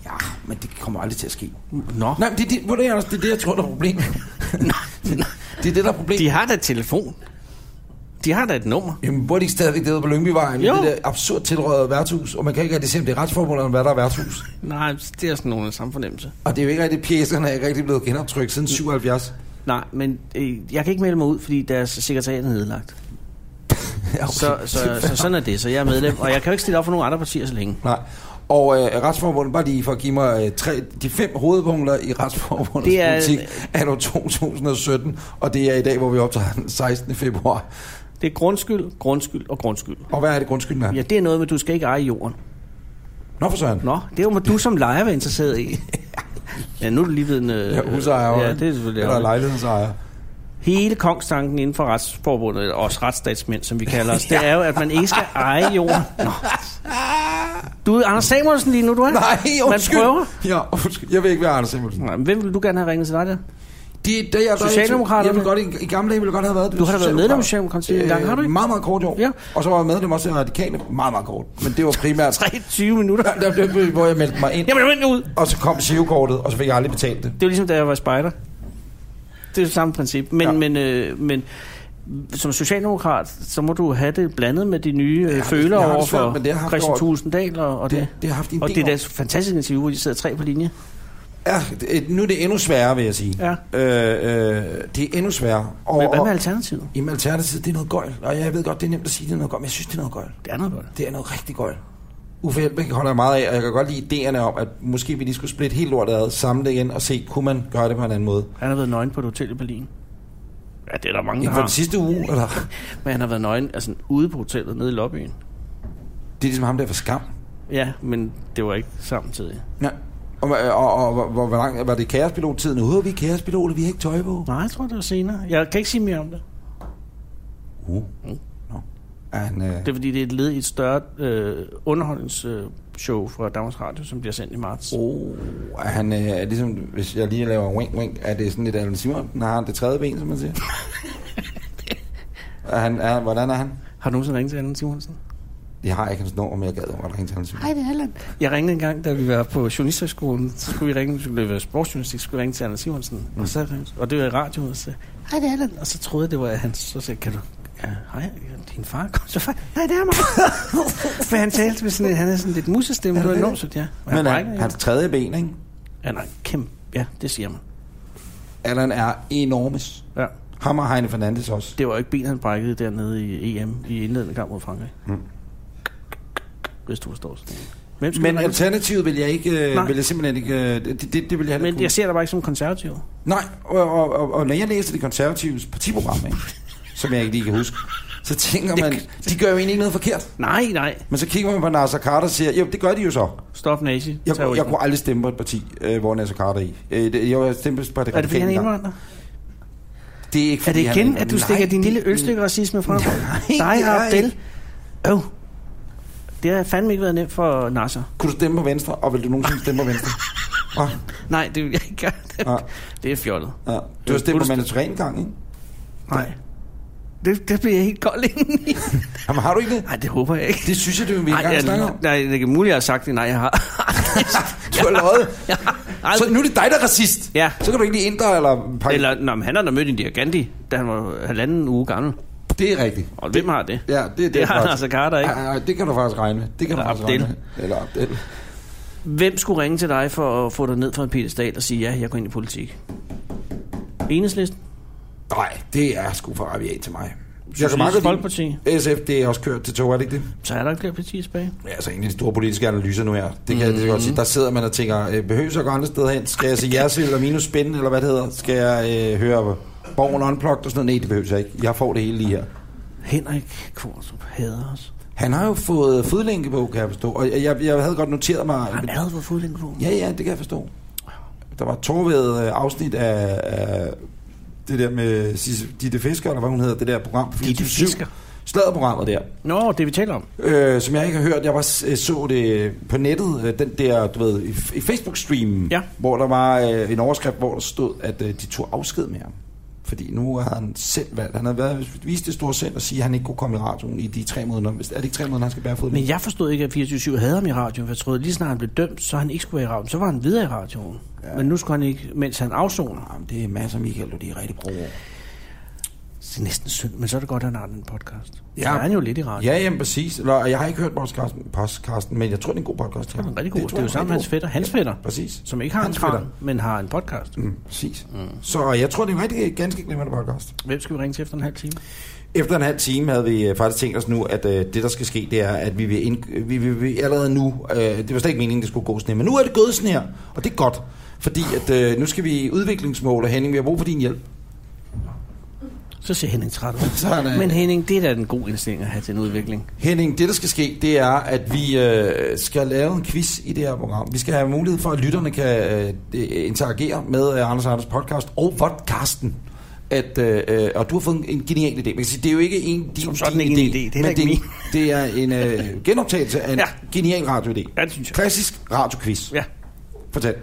Speaker 3: Ja, men det kommer aldrig til at ske.
Speaker 2: Nå,
Speaker 3: Nej, <laughs> men det, er det, ved du, Anders, det er det, jeg tror, der er problemet. det er det, der er problemet.
Speaker 2: de har da et telefon. De har da et nummer.
Speaker 3: Jamen, burde de ikke stadigvæk det på Lyngbyvejen?
Speaker 2: Jo.
Speaker 3: Jo. Det der absurd tilrøget værtshus, og man kan ikke rigtig se, om det er retsforbundet, eller hvad der er værtshus.
Speaker 2: Nej, det er sådan nogen af samme fornemmelse.
Speaker 3: Og det er jo ikke rigtig, pjæserne er ikke rigtig blevet genoptrykt siden 77.
Speaker 2: Nej, men øh, jeg kan ikke melde mig ud, fordi deres sekretariat er nedlagt.
Speaker 3: Ja, okay.
Speaker 2: Så, så, så sådan er det, så jeg er medlem. Og jeg kan jo ikke stille op for nogen andre partier så længe.
Speaker 3: Nej. Og øh, retsforbundet, bare lige for at give mig øh, tre, de fem hovedpunkter i retsforbundets
Speaker 2: Det er-
Speaker 3: politik er 2017, og det er i dag, hvor vi optager den 16. februar.
Speaker 2: Det er grundskyld, grundskyld og grundskyld.
Speaker 3: Og hvad er det grundskylden er?
Speaker 2: Ja, det er noget med, at du skal ikke eje jorden.
Speaker 3: Nå for søren.
Speaker 2: Nå, det er jo, må du som lejer være interesseret i. Ja, nu er du lige ved en... Øh,
Speaker 3: Ja, husejer
Speaker 2: Ja, det er selvfølgelig...
Speaker 3: Eller
Speaker 2: ærgerligt.
Speaker 3: lejlighedsejer.
Speaker 2: Hele kongstanken inden for retsforbundet, eller også retsstatsmænd, som vi kalder os, det er jo, at man ikke skal eje jorden. Nå. Du er Anders Samuelsen lige nu, du er.
Speaker 3: <laughs> Nej, undskyld.
Speaker 2: Man prøver.
Speaker 3: Ja, undskyld. Jeg vil ikke være Anders Samuelsen.
Speaker 2: Nej, men Hvem vil du gerne have ringet til dig der?
Speaker 3: De, der, jeg,
Speaker 2: Mm. Socialdemokraterne?
Speaker 3: Jeg vil godt, i, I gamle dage ville jeg godt have været Øh,
Speaker 2: Du har da været medlem af Socialdemokratiet engang, har du ikke?
Speaker 3: Meget, meget kort, jo.
Speaker 2: Ja.
Speaker 3: Og så var jeg medlem også af Radikale. Meget, meget kort. Men det var
Speaker 2: <laughs>
Speaker 3: primært...
Speaker 2: 23 minutter.
Speaker 3: Der- der- der- hvor jeg meldte mig ind.
Speaker 2: Jamen, vent nu ud.
Speaker 3: Og så kom SIO-kortet, og så fik jeg aldrig betalt det.
Speaker 2: Det er jo ligesom, da jeg var spejder. Det er jo samme princip. Men, ja.
Speaker 3: Ja.
Speaker 2: men, øh, men som socialdemokrat, så må du have det blandet med de nye øh,
Speaker 3: det-
Speaker 2: føler
Speaker 3: jeg har det
Speaker 2: over
Speaker 3: svært
Speaker 2: for
Speaker 3: med det. Jeg har haft
Speaker 2: Christian
Speaker 3: over-
Speaker 2: Tulsendal og, og det.
Speaker 3: Det, det har haft i en
Speaker 2: Og
Speaker 3: del
Speaker 2: det er
Speaker 3: år.
Speaker 2: deres fantastiske interview, hvor de sidder tre på linje.
Speaker 3: Ja, det, nu er det endnu sværere, vil jeg sige.
Speaker 2: Ja.
Speaker 3: Øh, øh, det er endnu sværere. Og,
Speaker 2: Men hvad med
Speaker 3: og-
Speaker 2: Alternativet?
Speaker 3: Jamen, alternativet, det er noget gøjl. Og jeg ved godt, det er nemt at sige, det er noget gøjl, men jeg synes, det er noget gøjl.
Speaker 2: Det er noget godt.
Speaker 3: Det er noget rigtig gøjl. Uffe Elbæk holder jeg meget af, og jeg kan godt lide idéerne om, at måske vi lige skulle splitte helt lortet ad, samle det igen og se, kunne man gøre det på en anden måde.
Speaker 2: Han har været nøgen på et hotel i Berlin. Ja, det er der mange, der
Speaker 3: Inden for den
Speaker 2: har.
Speaker 3: sidste uge, eller?
Speaker 2: Men han har været nøgen altså, ude på hotellet, nede i lobbyen.
Speaker 3: Det er ligesom ham der for skam.
Speaker 2: Ja, men det var ikke samtidig.
Speaker 3: Ja. Og, og, og, og hvor, hvor, hvor langt var det kaospilottiden? Nu vi er kaospiloter, vi har ikke tøj på.
Speaker 2: Nej, jeg tror, det var senere. Jeg kan ikke sige mere om det.
Speaker 3: Uh. Nå. Er han, øh,
Speaker 2: Det er fordi, det er et led i et større øh, underholdningsshow fra Danmarks Radio, som bliver sendt i marts. Oh.
Speaker 3: oh, er han øh, er ligesom, hvis jeg lige laver wink wink, er det sådan lidt Alan Simon? Har han det tredje ben, som man <laughs> siger? er han, er, hvordan er han?
Speaker 2: Har du nogensinde ringet til Allan Simonsen?
Speaker 3: Jeg har ikke hans nummer, men jeg gad godt ringe til Alan Simon.
Speaker 2: det er Allan. Jeg ringede en gang, da vi var på journalisterskolen. Så skulle vi ringe, vi skulle lave sportsjournalistik, så skulle vi ringe til Allan Simonsen. Mm. Og, så ringede, og det var i radioen, og så sagde, hej, det er Allan. Og så troede jeg, det var hans. Så sagde jeg, kan du... Ja, hej, din far kom så far. Nej, det er mig. <laughs> For han talte med sådan, en- han er sådan lidt musestemme.
Speaker 3: Er
Speaker 2: Det var
Speaker 3: det
Speaker 2: enormt
Speaker 3: det?
Speaker 2: sødt, ja. Og
Speaker 3: Men
Speaker 2: han,
Speaker 3: han,
Speaker 2: han,
Speaker 3: hans tredje ben, ikke?
Speaker 2: han er kæmpe. Ja, det siger man.
Speaker 3: Allan er enormes.
Speaker 2: Ja.
Speaker 3: Ham og Heine Fernandes også.
Speaker 2: Det var jo ikke ben, han brækkede dernede i EM i indledende kamp mod Frankrig. Mm. Hvis du forstår sådan. Hvem skal
Speaker 3: Men
Speaker 2: du-
Speaker 3: alternativet vil jeg ikke,
Speaker 2: Nej.
Speaker 3: øh, vil jeg simpelthen ikke, øh, det, det, det vil jeg heller ikke
Speaker 2: men
Speaker 3: kunne.
Speaker 2: jeg ser dig bare ikke som konservativ.
Speaker 3: Nej, og, og, og, og når jeg læser det konservatives partiprogram, ikke, som jeg ikke lige kan huske, så tænker man, de gør jo egentlig ikke noget forkert.
Speaker 2: Nej, nej.
Speaker 3: Men så kigger man på Nasser Carter og siger, jo, det gør de jo så.
Speaker 2: Stop nazi.
Speaker 3: Jeg,
Speaker 2: Tag
Speaker 3: jeg, jeg
Speaker 2: ud.
Speaker 3: kunne aldrig stemme på et parti, øh, hvor Nasser Carter er i. Øh, det, jeg stemte på det
Speaker 2: er det fordi, han er
Speaker 3: engang.
Speaker 2: indvandrer?
Speaker 3: Det er, ikke,
Speaker 2: Er det
Speaker 3: fordi han
Speaker 2: igen,
Speaker 3: indvandrer.
Speaker 2: at du stikker
Speaker 3: Nej,
Speaker 2: din lille
Speaker 3: det-
Speaker 2: ølstykke racisme frem?
Speaker 3: Nej,
Speaker 2: Dig,
Speaker 3: det er
Speaker 2: Abdel.
Speaker 3: ikke.
Speaker 2: Øv. Det har fandme ikke været nemt for Nasser.
Speaker 3: Kunne du stemme på Venstre, og vil du nogensinde stemme på
Speaker 2: <laughs>
Speaker 3: Venstre? Hva?
Speaker 2: Nej, det vil jeg ikke gøre.
Speaker 3: Ja,
Speaker 2: <laughs> Det er fjollet.
Speaker 3: ja. Du har stemt på
Speaker 2: Fuldstændig.
Speaker 3: Manus Ren engang, ikke?
Speaker 2: Nej. Det, det bliver jeg helt kold indeni.
Speaker 3: Jamen, har du ikke det?
Speaker 2: <laughs> Nej, det håber jeg ikke.
Speaker 3: Det synes jeg, det vil vi
Speaker 2: Nej,
Speaker 3: ikke engang snakke
Speaker 2: jeg,
Speaker 3: om. <laughs>
Speaker 2: nej, det er ikke muligt, jeg har sagt det. Nej, jeg har. <laughs>
Speaker 3: Du har løjet. <laughs>
Speaker 2: Jeg har
Speaker 3: Så
Speaker 2: aldrig-
Speaker 3: nu er det dig, der er racist.
Speaker 2: Ja.
Speaker 3: Så kan du ikke lige ændre eller... pakke-
Speaker 2: Eller, nå, men han har da mødt Indira Gandhi, da han var halvanden uge gammel.
Speaker 3: Det er rigtigt.
Speaker 2: Og hvem har det?
Speaker 3: Ja, det, det,
Speaker 2: Det
Speaker 3: er
Speaker 2: har
Speaker 3: faktisk-
Speaker 2: Nasser Carter ikke.
Speaker 3: Ja, ja, det kan du faktisk regne med. Det kan
Speaker 2: Eller
Speaker 3: du faktisk
Speaker 2: Abdel.
Speaker 3: regne med. Eller Abdel.
Speaker 2: Hvem skulle ringe til dig for at få dig ned fra en pedestal og sige, ja, jeg går ind i politik? Enhedslisten?
Speaker 3: Nej, det er sgu for rabiat til mig.
Speaker 2: Socialistisk
Speaker 3: godt
Speaker 2: Folkeparti.
Speaker 3: lide- SF, det er også kørt til tog, er det ikke det?
Speaker 2: Så er der ikke flere partier tilbage.
Speaker 3: Ja, altså en af de store politiske analyser nu her. Det kan jeg det kan jeg godt
Speaker 2: Mm.
Speaker 3: sige. Der sidder man og tænker, øh, behøver jeg gå andre steder hen? Skal jeg se
Speaker 2: <laughs>
Speaker 3: jeres eller minus spænd, eller hvad det hedder? Skal jeg øh, høre Borgen Unplugged og sådan noget? Nej, det behøver jeg ikke. Jeg får det hele lige her.
Speaker 2: Henrik Kvartrup hader os.
Speaker 3: Han har jo fået fodlænke på, kan jeg forstå. Og jeg, jeg, jeg havde godt noteret mig...
Speaker 2: Han havde fået fodlænke på.
Speaker 3: Ja, ja, det kan jeg forstå. Der var et tårværet øh, afsnit af, af det der med Sisse- Ditte Fisker, eller hvad hun hedder, det der program. på
Speaker 2: Ditte
Speaker 3: 24/7.
Speaker 2: Fisker?
Speaker 3: Sladderprogrammet der.
Speaker 2: Nå, det vi taler om.
Speaker 3: Øh, som jeg ikke har hørt, jeg var, øh, så det på nettet, øh, den der, du ved, i, i Facebook-streamen,
Speaker 2: Ja.
Speaker 3: hvor der var øh, en overskrift, hvor der stod, at øh, de tog afsked med ham. Fordi nu har han selv valgt, han har været, vist det store selv og sige, at han ikke kunne komme i radioen i de tre måneder. Hvis- Er det ikke tre måneder, han skal bære fod?
Speaker 2: Men jeg forstod ikke, at 24-7 havde ham i radioen, for jeg troede, at lige snart han blev dømt, så han ikke skulle være i radioen. Så var han videre i radioen. Ja. Men nu skulle han ikke, mens han afsoner.
Speaker 3: Jamen, det er masser af Michael, og de er rigtig pro.
Speaker 2: Så det er næsten synd, men så er det godt, at han har den podcast. Ja. Så
Speaker 3: Ja.
Speaker 2: er han jo lidt i radioen.
Speaker 3: Ja, jamen præcis. Eller, jeg har ikke hørt podcasten, podcasten men jeg tror, det er en god podcast.
Speaker 2: Ja.
Speaker 3: Det
Speaker 2: Han er rigtig god. Det,
Speaker 3: tror
Speaker 2: er jo
Speaker 3: jeg
Speaker 2: sammen med hans
Speaker 3: rigtig
Speaker 2: fætter. Hans fætter,
Speaker 3: god. Præcis.
Speaker 2: som ikke har en
Speaker 3: Hans
Speaker 2: kran,
Speaker 3: fætter.
Speaker 2: men har en podcast.
Speaker 3: Mm, præcis. Mm. Så jeg tror, det er en rigtig ganske glimrende podcast.
Speaker 2: Hvem skal vi ringe til efter en halv time?
Speaker 3: Efter en halv time havde vi øh, faktisk tænkt os nu, at øh, det der skal ske, det er, at vi vil, ind, vi, vi, vi allerede nu, øh, det var slet ikke meningen, det skulle gå sådan her, men nu er det gået sådan her, og det er godt, fordi at øh, nu skal vi i udviklingsmål, og Henning, vi har brug for din hjælp.
Speaker 2: Så ser Henning træt ud.
Speaker 3: <laughs> Sådan.
Speaker 2: Men Henning, det er da den gode indstilling at have til en udvikling.
Speaker 3: Henning, det der skal ske, det er, at vi øh, skal lave en quiz i det her program. Vi skal have mulighed for, at lytterne kan øh, de- interagere med øh, Anders og Anders podcast og podcasten. At, øh, øh, og du har fået en, en genial idé. Man kan sige, det er jo ikke en, din,
Speaker 2: Som sådan
Speaker 3: din
Speaker 2: ikke en idé. Det er heller
Speaker 3: men
Speaker 2: ikke
Speaker 3: det, <laughs> det er en øh, genoptagelse af en
Speaker 2: Ja.
Speaker 3: ja. genial radioidé.
Speaker 2: Ja, det synes jeg.
Speaker 3: Klassisk radioquiz.
Speaker 2: Ja.
Speaker 3: Fortæl.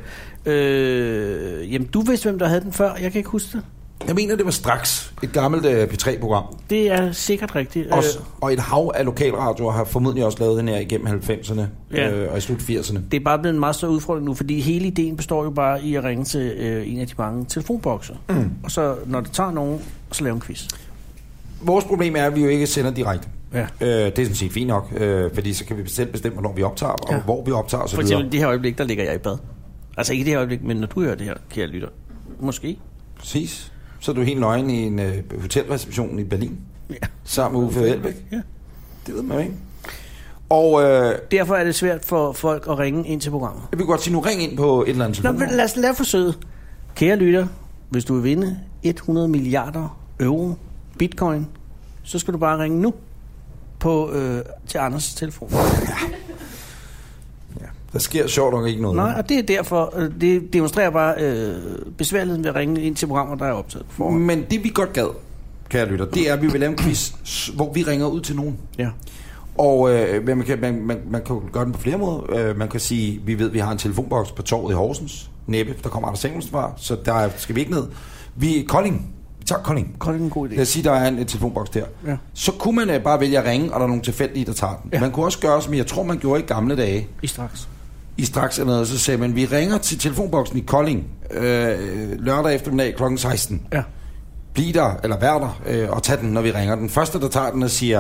Speaker 2: Øh, jamen, du vidste, hvem der havde den før. Jeg kan ikke huske det.
Speaker 3: Jeg mener, det var straks et gammelt øh, P3-program.
Speaker 2: Det er sikkert rigtigt.
Speaker 3: Øh.
Speaker 2: Øh,
Speaker 3: Og et hav af lokalradioer har formodentlig også lavet den her igennem 90'erne
Speaker 2: Ja.
Speaker 3: ja. øh, og i slut 80'erne.
Speaker 2: det er bare blevet en meget større udfordring nu, fordi hele ideen består jo bare i at ringe til øh, en af de mange telefonbokser. Mm. Og så, når det tager nogen, så lave en quiz.
Speaker 3: Vores problem er, at vi jo ikke sender direkte.
Speaker 2: Ja.
Speaker 3: Øh, det er sådan set fint nok, øh, fordi så kan vi selv bestemme, hvornår vi optager, og
Speaker 2: Ja.
Speaker 3: ja. hvor vi optager osv.
Speaker 2: For eksempel i det her øjeblik, der ligger jeg i bad. Altså ikke i det her øjeblik, men når du hører det her, kære lytter. Måske.
Speaker 3: Præcis. Så er du helt nøgen i en øh, hotelreception i Berlin,
Speaker 2: Ja.
Speaker 3: sammen med Uffe Elbæk.
Speaker 2: ja.
Speaker 3: Det ved man jo ikke. Og øh,
Speaker 2: Derfor er det svært for folk at ringe ind til programmet.
Speaker 3: jeg vil godt sige, nu ring ind på et eller andet
Speaker 2: Nå,
Speaker 3: telefon.
Speaker 2: men lad os lade forsøget. Kære lytter, hvis du vil vinde 100 milliarder euro bitcoin, så skal du bare ringe nu på, øh, til Anders telefon.
Speaker 3: Der sker sjovt nok ikke noget.
Speaker 2: Nej, og det er derfor, øh, det demonstrerer bare øh, besværligheden ved at ringe ind til programmer, der er optaget på forhånd.
Speaker 3: Men det vi godt gad, kære lytter, det er, at vi vil lave en quiz, s- hvor vi ringer ud til nogen.
Speaker 2: Ja.
Speaker 3: Og øh, men man, kan, man, man, man kan jo gøre den på flere måder. Øh, man kan sige, vi ved, vi har en telefonboks på torvet i Horsens. Næppe, der kommer Anders Samuelsen fra, så der skal vi ikke ned. Vi Kolding. Vi tager Kolding.
Speaker 2: Kolding er en god idé.
Speaker 3: Lad os sige, der er en, en telefonboks der.
Speaker 2: Ja.
Speaker 3: Så kunne man øh, bare vælge at ringe, og der er nogle tilfældige, der tager den.
Speaker 2: Ja.
Speaker 3: Ja. Man kunne også gøre, som jeg tror, man gjorde i gamle dage,
Speaker 2: I straks.
Speaker 3: i straks eller noget, så sagde man, vi ringer til telefonboksen i Kolding øh, lørdag eftermiddag kl. 16
Speaker 2: Ja.
Speaker 3: blive der, eller vær der, øh, og tag den, når vi ringer. Den første, der tager den og siger,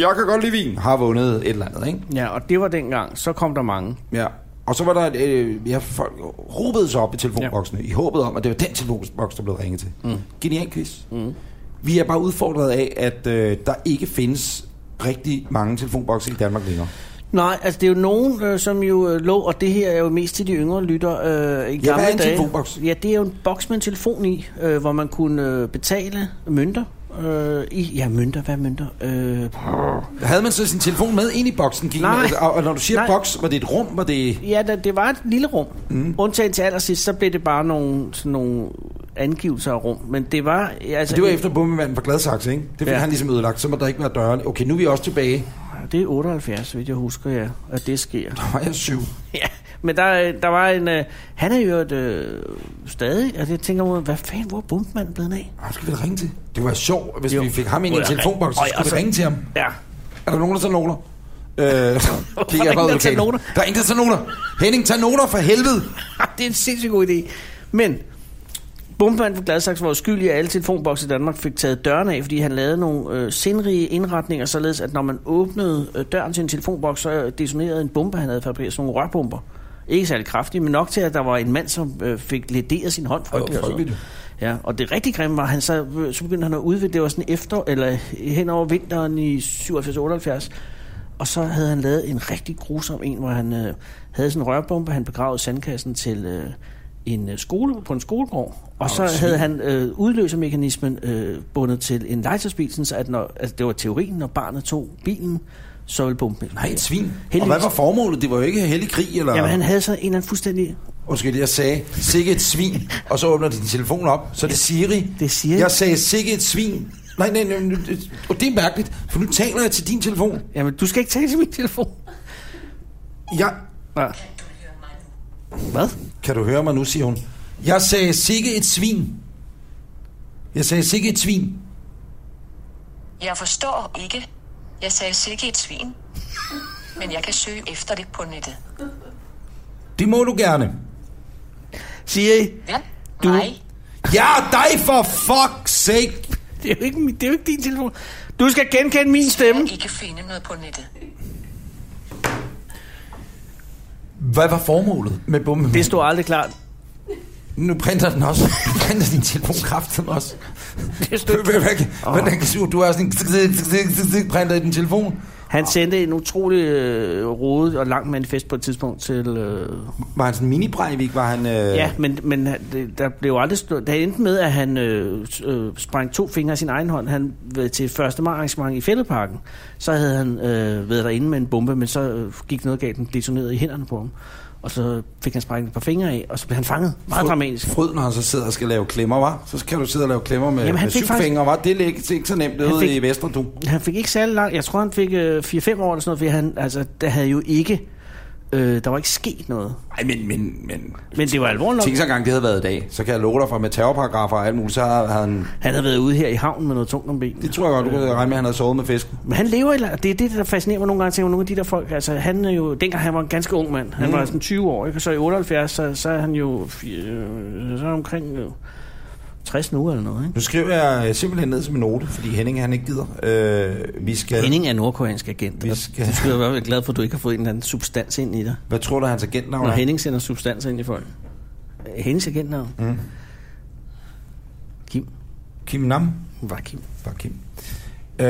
Speaker 3: jeg kan godt lide vin, har vundet et eller andet, ikke?
Speaker 2: ja, og det var dengang. Så kom der mange.
Speaker 3: Ja. Og så var der, et, øh, ja, folk råbede sig op i telefonboksene, ja. i håbet om, at det var den telefonboks, der blev ringet til. Mm. Genial quiz. Mm. Vi er bare udfordret af, at øh, der ikke findes rigtig mange telefonbokse i Danmark længere.
Speaker 2: Nej, altså det er jo nogen, øh, som jo øh, lå, og det her er jo mest til de yngre lytter øh, i gamle
Speaker 3: hvad er en
Speaker 2: dage.
Speaker 3: telefonboks?
Speaker 2: Ja, det er jo en boks med en telefon i, øh, hvor man kunne øh, betale mønter. Øh, i, ja, mønter, hvad er mønter? Øh,
Speaker 3: Havde man så sin telefon med ind i boksen? Gik
Speaker 2: Nej.
Speaker 3: Man, og, og når du siger
Speaker 2: Nej.
Speaker 3: Nej. boks, var det et rum, var det...
Speaker 2: ja, da, det var et lille rum. Mm. Undtagen til allersidst, så blev det bare nogle, sådan nogle angivelser af rum. Men det var... Altså,
Speaker 3: Så det var efter bombemanden fra Gladsaxe, ikke? Det fik
Speaker 2: Ja.
Speaker 3: ja. han ligesom ødelagt, så må der ikke være døre. Okay, nu er vi også tilbage.
Speaker 2: Ah, Det er 78, så vidt jeg husker, ja, at det sker.
Speaker 3: Der var jeg syv.
Speaker 2: <laughs> Ja, men der, øh, der var en... Øh, han er jo et, øh, stadig, og jeg tænker, hvad fanden, hvor er bumpmanden blevet af?
Speaker 3: Ham skal vi da ringe til. Det var sjovt, hvis
Speaker 2: Jo.
Speaker 3: jo. vi fik ham ind i
Speaker 2: Må
Speaker 3: en
Speaker 2: jeg ringe?
Speaker 3: telefonboks, så
Speaker 2: Øj,
Speaker 3: skulle
Speaker 2: altså-
Speaker 3: vi ringe til ham.
Speaker 2: Ja, <laughs>
Speaker 3: Er der nogen, der tager noter? Øh, kigger
Speaker 2: ingen,
Speaker 3: jeg bare ud
Speaker 2: der
Speaker 3: af
Speaker 2: tager noter?
Speaker 3: lokalet. Der er ingen, der tager noter. Henning, tag noter for helvede.
Speaker 2: det er en sindssygt god idé. Men Bumpmanden fra Gladsaxe var jo skyldig, at alle telefonbokser i Danmark fik taget døren af, fordi han lavede nogle øh, sindrige indretninger, således at når man åbnede øh, døren til en telefonboks, så øh, detonerede en bombe, han havde fabrikeret, sådan nogle rørbomber. Ikke særlig kraftige, men nok til, at der var en mand, som øh, fik lederet sin hånd frygteligt. og sådan noget. Ja, og det rigtig grimme var, han så, så begyndte han at udvikle, det var sådan efter, eller hen over vinteren i 77-78, og så havde han lavet en rigtig grusom en, hvor han øh, havde sådan en rørbombe, han begravede sandkassen til øh, en øh, skole, på en skolegård, og så havde han øh, udløsermekanismen øh, bundet til en legetøjsbil, sådan så at når, altså det var teorien, når barnet tog bilen, så ville bomben
Speaker 3: Nej, et svin. Og
Speaker 2: Heldigvis.
Speaker 3: hvad var formålet? Det var jo ikke heldig krig, eller...
Speaker 2: Jamen, han havde så en eller anden fuldstændig...
Speaker 3: Undskyld, jeg sagde, sikke et svin, og så åbner de din telefon op, så er det Siri.
Speaker 2: Det er Siri.
Speaker 3: Jeg sagde, sikke et svin. Nej, nej, nej, nej, det- og det er mærkeligt, for nu taler jeg til din telefon.
Speaker 2: Jamen, du skal ikke tale til min telefon.
Speaker 3: Jeg,
Speaker 2: Ja. Hvad?
Speaker 3: kan du høre mig nu, siger hun. Jeg sagde, sikke et svin. Jeg sagde, sikke et svin.
Speaker 6: Jeg forstår ikke. Jeg sagde sikke et svin. Men jeg kan søge efter det på nettet.
Speaker 3: Det må du gerne.
Speaker 2: Siri,
Speaker 6: Ja?
Speaker 2: Du-
Speaker 6: Nej.
Speaker 3: Ja, dig for fuck's sake.
Speaker 2: det er, jo ikke, min- det er jo ikke din telefon. Du skal genkende min stemme.
Speaker 6: Jeg kan ikke finde noget på nettet.
Speaker 3: Hvad var formålet med bomben?
Speaker 2: Det stod aldrig klart.
Speaker 3: Nu printer den også. Nu printer din telefon kraften også.
Speaker 2: Det stod ikke klart.
Speaker 3: Hvad- Hvordan kan du? Du har sådan en zik, zik, zik, zik, zik, printer i din telefon.
Speaker 2: Han sendte en utrolig øh, rodet og lang manifest på et tidspunkt til... Øh,
Speaker 3: Var han sådan mini Breivik? Var han... Øh...
Speaker 2: ja, men, men han- det- der blev jo aldrig stået... Det endte med, at han øh, s- øh, sprang to fingre af sin egen hånd. Han ved, til 1. maj arrangement i Fældeparken. Så havde han øh, været derinde med en bombe, men så øh, gik noget galt, den detonerede i hænderne på ham. Og så fik han sprængt et par fingre af, og så blev han fanget. Meget dramatisk.
Speaker 3: Fryd, når han så sidder og skal lave klemmer, var. Så skal du sidde og lave klemmer med,
Speaker 2: Jamen,
Speaker 3: Jamen,
Speaker 2: han
Speaker 3: med
Speaker 2: fik
Speaker 3: syv
Speaker 2: faktisk-
Speaker 3: faktisk... fingre, var. Det er ikke, det er ikke så nemt
Speaker 2: Han
Speaker 3: derude
Speaker 2: fik-
Speaker 3: i Vestre, du.
Speaker 2: Han fik ikke særlig langt. Jeg tror, han fik øh, 4-5 år eller sådan noget, fordi han, altså, der havde jo ikke... Øh, der var ikke sket noget.
Speaker 3: Ej, men, men, men...
Speaker 2: Men det var alvorligt nok.
Speaker 3: Tænk så engang, det havde været i dag. Så kan jeg love dig for med terrorparagrafer og alt muligt, så havde han...
Speaker 2: Han havde været ude her i havnen med noget tungt om benene.
Speaker 3: Det tror jeg godt, du kan regne med, at han havde sovet med fisken.
Speaker 2: Men han lever, eller det er det, der fascinerer mig nogle gange, tænker jeg, nogle af de der folk, altså han er jo, dengang han var en ganske ung mand, han mm. var sådan 20 år, ikke? og så i 78, så, så er han jo, fi- øh, så er han omkring øh, 60 nu eller noget, ikke?
Speaker 3: Nu skriver jeg øh, simpelthen ned som en note, fordi Henning han ikke gider. Øh, vi skal...
Speaker 2: Henning er nordkoreansk agent,
Speaker 3: Vi
Speaker 2: og
Speaker 3: skal-
Speaker 2: du skal være glad for, at du ikke har fået en eller anden substans ind i dig.
Speaker 3: Hvad tror du, hans agentnavn
Speaker 2: Når
Speaker 3: er?
Speaker 2: Henning sender substans ind i folk. Øh, Hendes agentnavn? Mm. Kim.
Speaker 3: Kim Nam?
Speaker 2: Var Kim.
Speaker 3: Fuck Kim. Øh,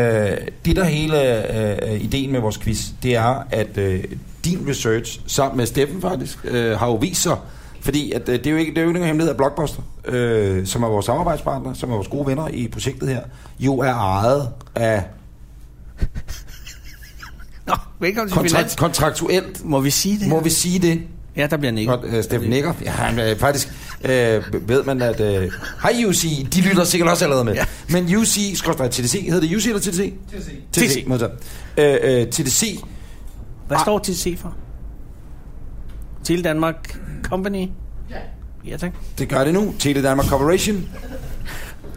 Speaker 3: det der hele øh, ideen med vores quiz, det er, at øh, din research, sammen med Steffen faktisk, øh, har jo vist sig, fordi at, øh, det er jo ikke det er jo ikke nogen hemmelighed af Blockbuster, øh, som er vores samarbejdspartner, som er vores gode venner i projektet her, jo er ejet af
Speaker 2: Nå, velkommen til
Speaker 3: kontrakt,
Speaker 2: Finans.
Speaker 3: kontraktuelt.
Speaker 2: Må vi sige det?
Speaker 3: Må vi sige det?
Speaker 2: Ja, der bliver nikket.
Speaker 3: Godt, øh, Steffen Nikker. Ja, han, øh, faktisk øh, ved man, at... Øh, hej UC, de lytter sikkert også allerede med.
Speaker 2: Ja.
Speaker 3: Ja. Men UC, skorstræk TDC, hedder det UC eller TDC?
Speaker 5: til at se.
Speaker 2: TDC.
Speaker 3: TDC. modtaget. Øh, øh, TDC,
Speaker 2: Hvad
Speaker 3: Ah.
Speaker 2: står TDC for? Til Danmark Company? Ja. Ja, tak.
Speaker 3: det gør det nu. Tele Danmark Corporation.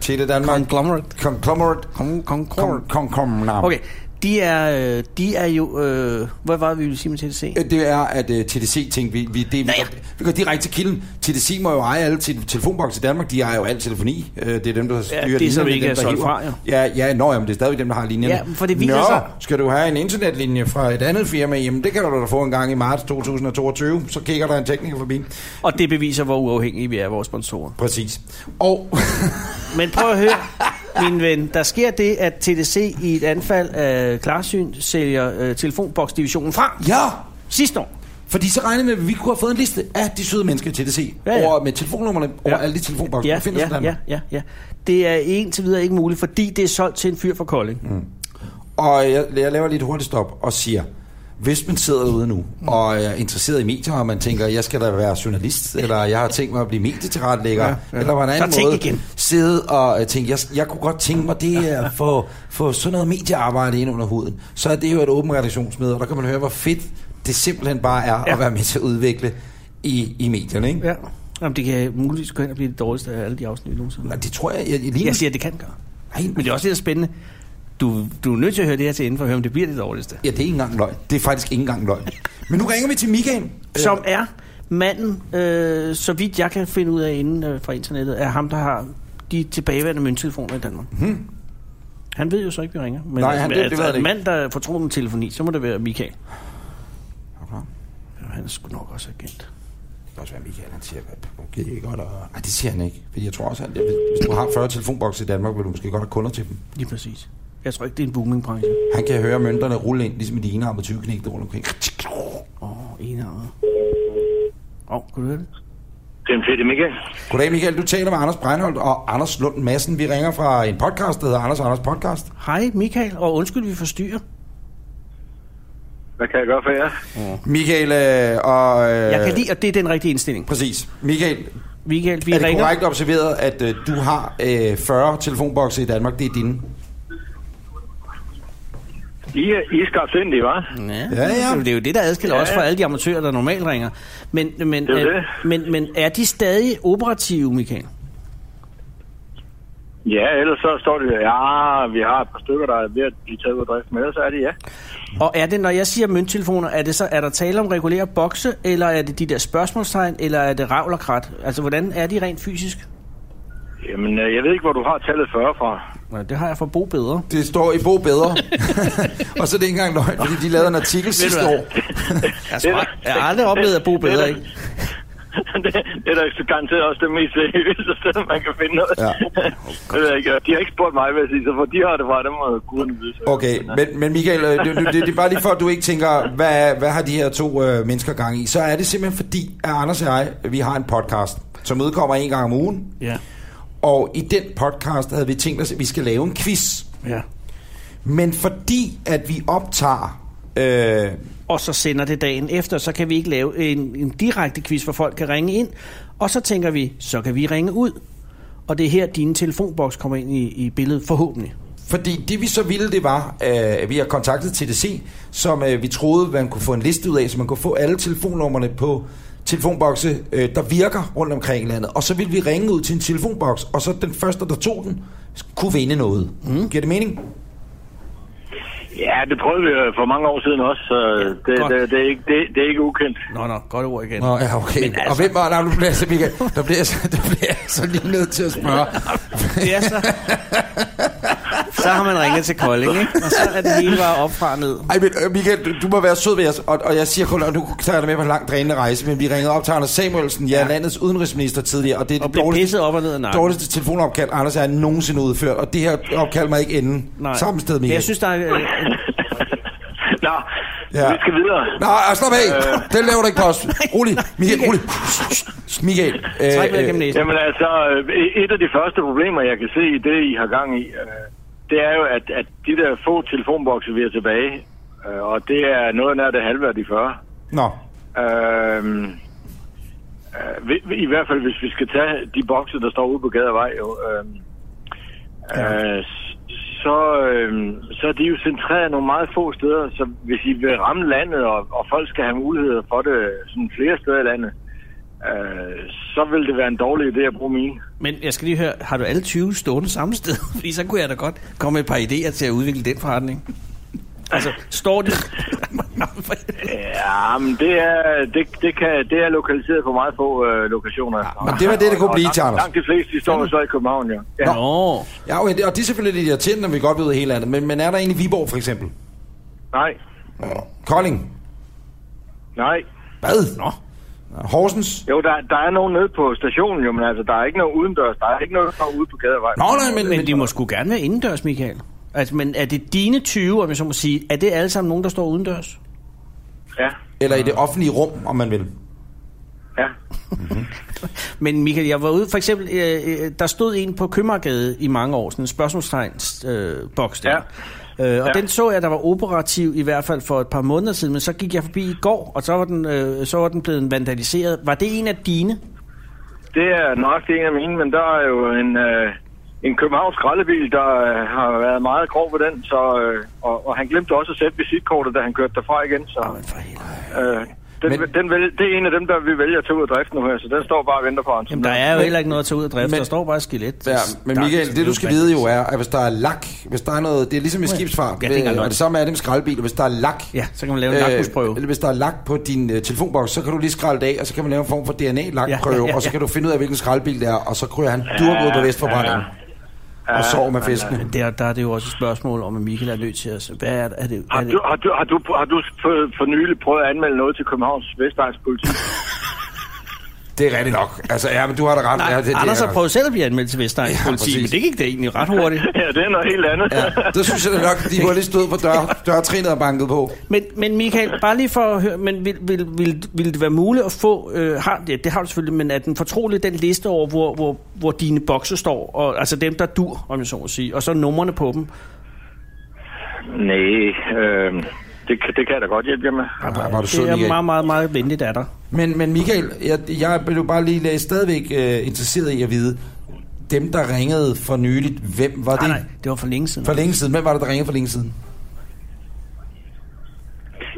Speaker 3: Tele Danmark...
Speaker 2: Conglomerate.
Speaker 3: Conglomerate.
Speaker 2: Concord.
Speaker 3: Conglomerate.
Speaker 2: Okay, de er, øh, de er jo... Øh, hvad var det, vi ville sige med TDC?
Speaker 3: Øh, Det er, at uh, TDC tænkte, vi, vi, det, vi,
Speaker 2: ja.
Speaker 3: går, vi går direkte til kilden. TDC må jo eje alle te- telefonbokser i Danmark. De ejer jo al telefoni. Uh, det er dem, der styrer
Speaker 2: det er så, vi ikke
Speaker 3: dem,
Speaker 2: er
Speaker 3: der
Speaker 2: solgt
Speaker 3: hiver.
Speaker 2: fra, jo.
Speaker 3: Ja, ja, nå, jamen, det er stadigvæk dem, der har linjerne.
Speaker 2: Ja, for det viser
Speaker 3: nå,
Speaker 2: sig-
Speaker 3: skal du have en internetlinje fra et andet firma? Jamen, det kan du da få en gang i marts 2022. Så kigger der en tekniker forbi.
Speaker 2: Og det beviser, hvor uafhængige vi er af vores sponsorer.
Speaker 3: Præcis. Og <laughs>
Speaker 2: Men prøv at høre, min ven. Der sker det, at TDC i et anfald af klarsyn sælger øh, telefonboksdivisionen fra
Speaker 3: ja,
Speaker 2: sidste år.
Speaker 3: Fordi så regnede vi med, at vi kunne have fået en liste af de søde mennesker i TDC.
Speaker 2: Ja,
Speaker 3: Ja,
Speaker 2: ja.
Speaker 3: ja. Over, med telefonnummerne over
Speaker 2: Ja.
Speaker 3: alle de telefonbokser,
Speaker 2: Ja,
Speaker 3: der findes i
Speaker 2: ja,
Speaker 3: Danmark.
Speaker 2: ja, ja, ja. Det er indtil videre ikke muligt, fordi det er solgt til en fyr fra Kolding. Mm.
Speaker 3: Og jeg, jeg laver lige et hurtigt stop og siger, hvis man sidder derude nu
Speaker 2: Mm.
Speaker 3: og er interesseret i medier, og man tænker, jeg skal da være journalist, eller jeg har tænkt mig at blive medietilrettelægger, ja, ja. eller på en anden
Speaker 2: Så tænk
Speaker 3: måde,
Speaker 2: igen.
Speaker 3: sidde og øh, tænke, jeg, jeg kunne godt tænke mig det at få, få sådan noget mediearbejde ind under huden, så er det jo et åbent redaktionsmøde, og der kan man høre, hvor fedt det simpelthen bare er ja.
Speaker 2: Ja.
Speaker 3: at være med til at udvikle i, i medierne. Ikke? Ja.
Speaker 2: Ja. Jamen, det kan muligvis gå hen og blive det dårligste af alle de afsnit nogensinde.
Speaker 3: Det tror jeg, jeg, jeg lige nu
Speaker 2: Jeg siger, at det kan gøre.
Speaker 3: Nej,
Speaker 2: Men det er også lidt spændende. Du, du er nødt til at høre det her til inden for at høre, om det bliver det dårligste.
Speaker 3: Ja, det er ikke engang løgn. Det er faktisk ikke engang løgn. Men nu ringer vi til Michael.
Speaker 2: Som er manden, øh, så vidt jeg kan finde ud af inden øh, fra internettet, er ham, der har de tilbageværende mønttelefoner i Danmark. Hmm. Han ved jo så ikke, vi ringer. Men
Speaker 3: Mhm. Nej, han- det- det ved
Speaker 2: altså,
Speaker 3: han
Speaker 2: en
Speaker 3: ikke.
Speaker 2: mand, der får troen med telefoni, så må det være Michael.
Speaker 3: Øh,
Speaker 2: Ja, han er sgu nok også agent.
Speaker 3: Det kan også være, Michael han siger, okay, det er godt. Og... Nej, det siger han ikke. Fordi jeg tror også, at hvis, hvis du har 40 telefonbokse i Danmark, vil du måske godt have kunder til dem.
Speaker 2: Lige præcis. Jeg tror ikke, det er en booming-branche.
Speaker 3: Han kan høre mønterne rulle ind, ligesom i de ene arme 20 knægte rundt omkring.
Speaker 2: Åh, oh, en af Åh, oh, kunne du høre det?
Speaker 7: Det er en fedt, Michael.
Speaker 3: Goddag, Michael. Du taler med Anders Breinholt og Anders Lund Madsen. Vi ringer fra en podcast, der hedder Anders og Anders Podcast.
Speaker 2: Hej, Michael, og undskyld, vi forstyrrer.
Speaker 7: Hvad kan jeg gøre for jer?
Speaker 3: Michael øh, og... Øh,
Speaker 2: Jeg kan lide, at det er den rigtige indstilling.
Speaker 3: Præcis. Michael,
Speaker 2: Michael, vi
Speaker 3: er det
Speaker 2: ringer.
Speaker 3: korrekt observeret, at øh, du har øh, 40 telefonbokse i Danmark? Det er dine.
Speaker 7: I, er- I er skarpsindige, hva'?
Speaker 2: Ja,
Speaker 3: Ja,
Speaker 2: ja,
Speaker 3: ja.
Speaker 2: ja. Det er jo det, der adskiller ja,
Speaker 7: Ja,
Speaker 2: os fra alle de amatører, der normalt ringer. Men, men,
Speaker 7: Det er jo
Speaker 2: øh,
Speaker 7: det.
Speaker 2: men, men er de stadig operative, Michael?
Speaker 7: Ja, ellers så står det, ja, vi har et par stykker, der er ved at blive taget ud af drift, men ellers er det ja.
Speaker 2: Og er det, når jeg siger mønttelefoner, er det så, er der tale om regulære bokse, eller er det de der spørgsmålstegn, eller er det ravl og krat? Altså, hvordan er de rent fysisk?
Speaker 7: Jamen, øh, jeg ved ikke, hvor du har tallet 40 fra.
Speaker 2: Nå, det har jeg for bo bedre.
Speaker 3: Det står i Bo
Speaker 2: <laughs>
Speaker 3: Bedre. <laughs> og så er det ikke engang løgn, fordi de lavede en artikel sidste
Speaker 2: hvad?
Speaker 3: år.
Speaker 2: Altså, Jeg, tror, jeg har aldrig oplevet at bo bedre, ikke?
Speaker 7: <laughs> det, det er da garanteret også det mest seriøse sted, man kan finde noget.
Speaker 3: Ja.
Speaker 7: <laughs> det ved jeg ikke. De har ikke spurgt mig, hvad jeg siger, så hvor de har det fra, dem må guderne vide. så.
Speaker 3: Okay, men, men Michael, øh, det, det, det, det er bare lige for, at du ikke tænker, hvad, hvad har de her to øh, mennesker gang i? Så er det simpelthen fordi, at Anders og jeg, vi har en podcast, som udkommer en gang om ugen.
Speaker 2: Ja.
Speaker 3: Og i den podcast havde vi tænkt os, at vi skal lave en quiz.
Speaker 2: ja.
Speaker 3: Men fordi, at vi optager... Øh,
Speaker 2: Og så sender det dagen efter, så kan vi ikke lave en, en direkte quiz, hvor folk kan ringe ind. Og så tænker vi, så kan vi ringe ud. Og det er her, dine telefonboks kommer ind i, i billedet, forhåbentlig.
Speaker 3: Fordi det vi så ville, det var, øh, at vi har kontaktet TDC, som øh, vi troede, man kunne få en liste ud af, så man kunne få alle telefonnummerne på telefonbokse, øh, der virker rundt omkring i landet. Og så ville vi ringe ud til en telefonboks, og så den første, der tog den, kunne vinde noget. Mm. Giver det mening?
Speaker 7: Ja, det prøvede vi øh, for mange år siden også, så Øh, det,
Speaker 2: godt.
Speaker 7: det, det, er ikke, det, det er ikke ukendt.
Speaker 2: Nå, nå, godt ord igen.
Speaker 3: Nå, ja, okay. Altså... Og hvem var der? Nu bliver jeg så, Michael, der bliver jeg så, der bliver jeg så lige nødt til at spørge.
Speaker 2: Ja, så. så har man ringet til Kolding, ikke? Og så er det hele bare op fra og ned.
Speaker 3: Ej, men øh, Michael, du, du må være sød ved os, og, og jeg siger kun, og nu tager jeg dig med på en lang drænende rejse, men vi ringede op til Anders Samuelsen, jeg er landets udenrigsminister tidligere, og det er
Speaker 2: Og
Speaker 3: det
Speaker 2: bliver
Speaker 3: dårligste
Speaker 2: pisset op og ned af nakken.
Speaker 3: dårligste telefonopkald, Anders jeg nogensinde udført, og det her opkald mig ikke enden
Speaker 2: Nej.
Speaker 3: samme sted,
Speaker 2: Men
Speaker 3: Michael.
Speaker 2: Jeg synes, der er... øh,
Speaker 7: Nå,
Speaker 3: Ja.
Speaker 7: ja. vi skal videre.
Speaker 3: Nå, ah, slap af! Øh... Den laver du ikke på
Speaker 2: <laughs>
Speaker 3: os. Rolig, Michael, rolig. Michael, øh,
Speaker 2: Træk vejret gennem
Speaker 3: øh,
Speaker 2: næsen.
Speaker 7: Jamen altså, øh, et af de første problemer, jeg kan se i det, I har gang i, øh, det er jo, at, at de der få telefonbokse, vi er tilbage, øh, og det er noget nær det halve af de 40.
Speaker 3: nå,
Speaker 7: Øh, øh, I hvert fald, hvis vi skal tage de bokse, der står ude på gade og vej, jo, øh, øh, så, øh, så er de jo centreret nogle meget få steder, så hvis I vil ramme landet, og, og folk skal have muligheder for det sådan flere steder i landet, øh, så vil det være en dårlig idé at bruge mine.
Speaker 2: Men jeg skal lige høre, har du alle 20 stående samme sted? <laughs> Fordi så kunne jeg da godt komme med et par idéer til at udvikle den forretning. Altså, står
Speaker 3: <laughs>
Speaker 2: de...
Speaker 7: Ja, men det er, det, det, kan, det er lokaliseret på meget få øh, lokationer. Ja,
Speaker 3: men det var det, det kunne blive til, Anders.
Speaker 7: Langt de fleste, de står jo så i København, ja. ja.
Speaker 2: Nå,
Speaker 3: ja, okay, det- og det er selvfølgelig lidt irriterende, når vi godt ved hele andet, men, men er der en i Viborg, for eksempel?
Speaker 7: Nej,
Speaker 3: Kolding?
Speaker 7: nej.
Speaker 3: Hvad? Nå. Horsens?
Speaker 7: Jo, der, der er nogen nede på stationen, jo, men altså, der er ikke noget udendørs. Der er ikke noget der er ude på gadevej.
Speaker 3: Nå, nej, men,
Speaker 2: men de må sgu gerne være indendørs, Michael. Altså, men er det dine 20, om jeg så må sige, er det alle sammen nogen, der står udendørs?
Speaker 7: Ja,
Speaker 3: Eller i det offentlige rum, om man vil.
Speaker 7: ja.
Speaker 2: Men Michael, jeg var ude, for eksempel, øh, øh, der stod en på Købmagergade i mange år, sådan en spørgsmålstegns øh, boks der. Ja. Øh, og ja.
Speaker 7: Ja.
Speaker 2: den så jeg, der var operativ i hvert fald for et par måneder siden, men så gik jeg forbi i går, og så var den, øh, så var den blevet vandaliseret. Var det en af dine?
Speaker 7: Det er nok det ene af mine, men der er jo en, øh, en københavns skraldebil, der øh, har været meget grov ved den, så, øh, og, og han glemte også at sætte visitkortet, da han kørte derfra igen, så...
Speaker 2: Men for helvede.
Speaker 7: Øh, den,
Speaker 3: Men-
Speaker 7: men, den vælge, det er en af dem, der vi vælger at tage ud af drift nu her, så den står bare og venter på ham.
Speaker 2: Jamen, der er jo
Speaker 3: Men-
Speaker 2: heller ikke noget at tage ud og drift,
Speaker 3: men-
Speaker 2: der står bare et skelet.
Speaker 3: Ja, men Michael, det du skal vide jo er, at hvis der er lak, hvis der er noget, det er ligesom i skibsfart,
Speaker 2: Ja, det er ikke
Speaker 3: øh, og
Speaker 2: løgn.
Speaker 3: det samme er det med skraldbiler, hvis der er lak,
Speaker 2: Ja, så kan man lave en lakmusprøve.
Speaker 3: Øh, eller hvis der er lak på din øh, telefonboks, så kan du lige skralde det af, og så kan man lave en form for DNA-lakprøve,
Speaker 2: Ja, ja, ja,
Speaker 3: og så
Speaker 2: ja.
Speaker 3: kan du finde ud af, hvilken skraldbil det er, og så kryger han durk ud på Vestforbrændingen. Og sover med fiskene.
Speaker 2: Der, der er det jo også et spørgsmål om, at Michael er nødt til at... Hvad er, er det? Er
Speaker 7: Har
Speaker 2: det
Speaker 7: du, har, du, har, du, har du for, for nylig prøvet at anmelde noget til Københavns Vestegns politi? <laughs>
Speaker 3: Det er rigtigt nok. Altså, ja, men du har da ret.
Speaker 2: Nej,
Speaker 3: ja,
Speaker 2: ja,
Speaker 3: det, det er
Speaker 2: Anders har
Speaker 3: nok.
Speaker 2: prøvet selv at blive anmeldt til Vestegns
Speaker 3: Ja,
Speaker 2: ja, politi,
Speaker 3: præcis.
Speaker 2: men det gik det egentlig ret hurtigt.
Speaker 7: ja, det er noget helt andet. Ja.
Speaker 3: Ja, det synes jeg da nok, de kunne have lige stået på dør, dørtrinet og banket på.
Speaker 2: Men, men Michael, bare lige for at høre, men vil, vil, vil, vil det være muligt at få, øh, har, ja, det har du selvfølgelig, men er den fortrolig den liste over, hvor, hvor, hvor dine bokse står, og, altså dem, der dur, om jeg så må sige, og så numrene på dem?
Speaker 7: Nej, øh, Det, kan- det kan jeg da godt hjælpe jer med.
Speaker 3: Ej, var du sød,
Speaker 2: Det er
Speaker 3: Michael.
Speaker 2: meget, meget, meget venligt af dig.
Speaker 3: Men, men Michael, jeg, jeg blev bare lige læ- stadigvæk øh, interesseret i at vide, dem der ringede for nyligt, hvem var
Speaker 2: Nej,
Speaker 3: det?
Speaker 2: nej, det var for længe siden.
Speaker 3: For længe siden, hvem var det, der ringede for længe siden?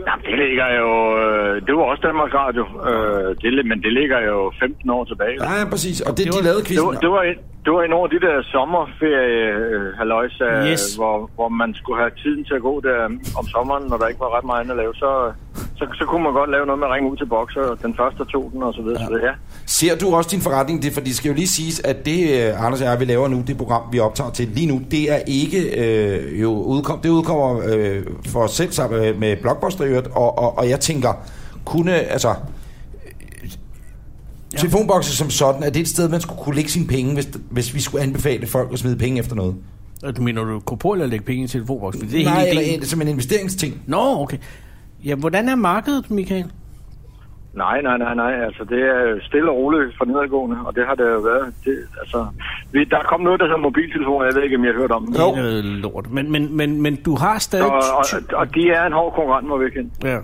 Speaker 7: Jamen, det ligger jo... øh, Det var også Danmarks Radio, øh, det, li- men det ligger jo 15 år tilbage.
Speaker 3: Ja, ja præcis. Og det,
Speaker 2: Det
Speaker 3: det
Speaker 2: var-
Speaker 3: de lavede
Speaker 7: Det var,
Speaker 3: quizzen.
Speaker 7: det, var en, det var en over de der sommerferie, øh, halløjsa,
Speaker 2: Yes.
Speaker 7: yes. hvor, hvor man skulle have tiden til at gå der om sommeren, når der ikke var ret meget andet at lave. Så, så, så kunne man godt lave noget med at ringe ud til bokser, og den første tog den og så videre. Ja. Så videre. Ja.
Speaker 3: Ser du også din forretning? Det, for det skal jo lige siges, at det, øh, Anders og jeg, vi laver nu, det program, vi optager til lige nu, det er ikke øh, jo udkom, det udkommer øh, for os selv sammen med, med Blockbuster, i øvrigt, og, og, og jeg tænker, kunne, altså, øh, Telefonbokse som sådan, er det et sted, man skulle kunne lægge sine penge, hvis, hvis vi skulle anbefale folk at smide penge efter noget?
Speaker 2: Og Du mener du Coop eller lægge penge i telefonboks? Fordi det er
Speaker 3: Nej,
Speaker 2: hele
Speaker 3: eller
Speaker 2: ideen.
Speaker 3: en, som en investeringsting.
Speaker 2: Nå, okay. Ja, hvordan er markedet, Michael?
Speaker 7: Nej, nej, nej, nej. Altså, det er jo stille og roligt for nedadgående, og det har det jo været. Det, altså, vi, der kom noget, der hedder mobiltelefoner, jeg ved ikke, om jeg har hørt om. det.
Speaker 2: Det er noget lort. Men, men, men, men du har stadig...
Speaker 7: Og, og,
Speaker 2: ty-
Speaker 7: og, de er en hård konkurrent, må vi erkende.
Speaker 2: Ja. ja.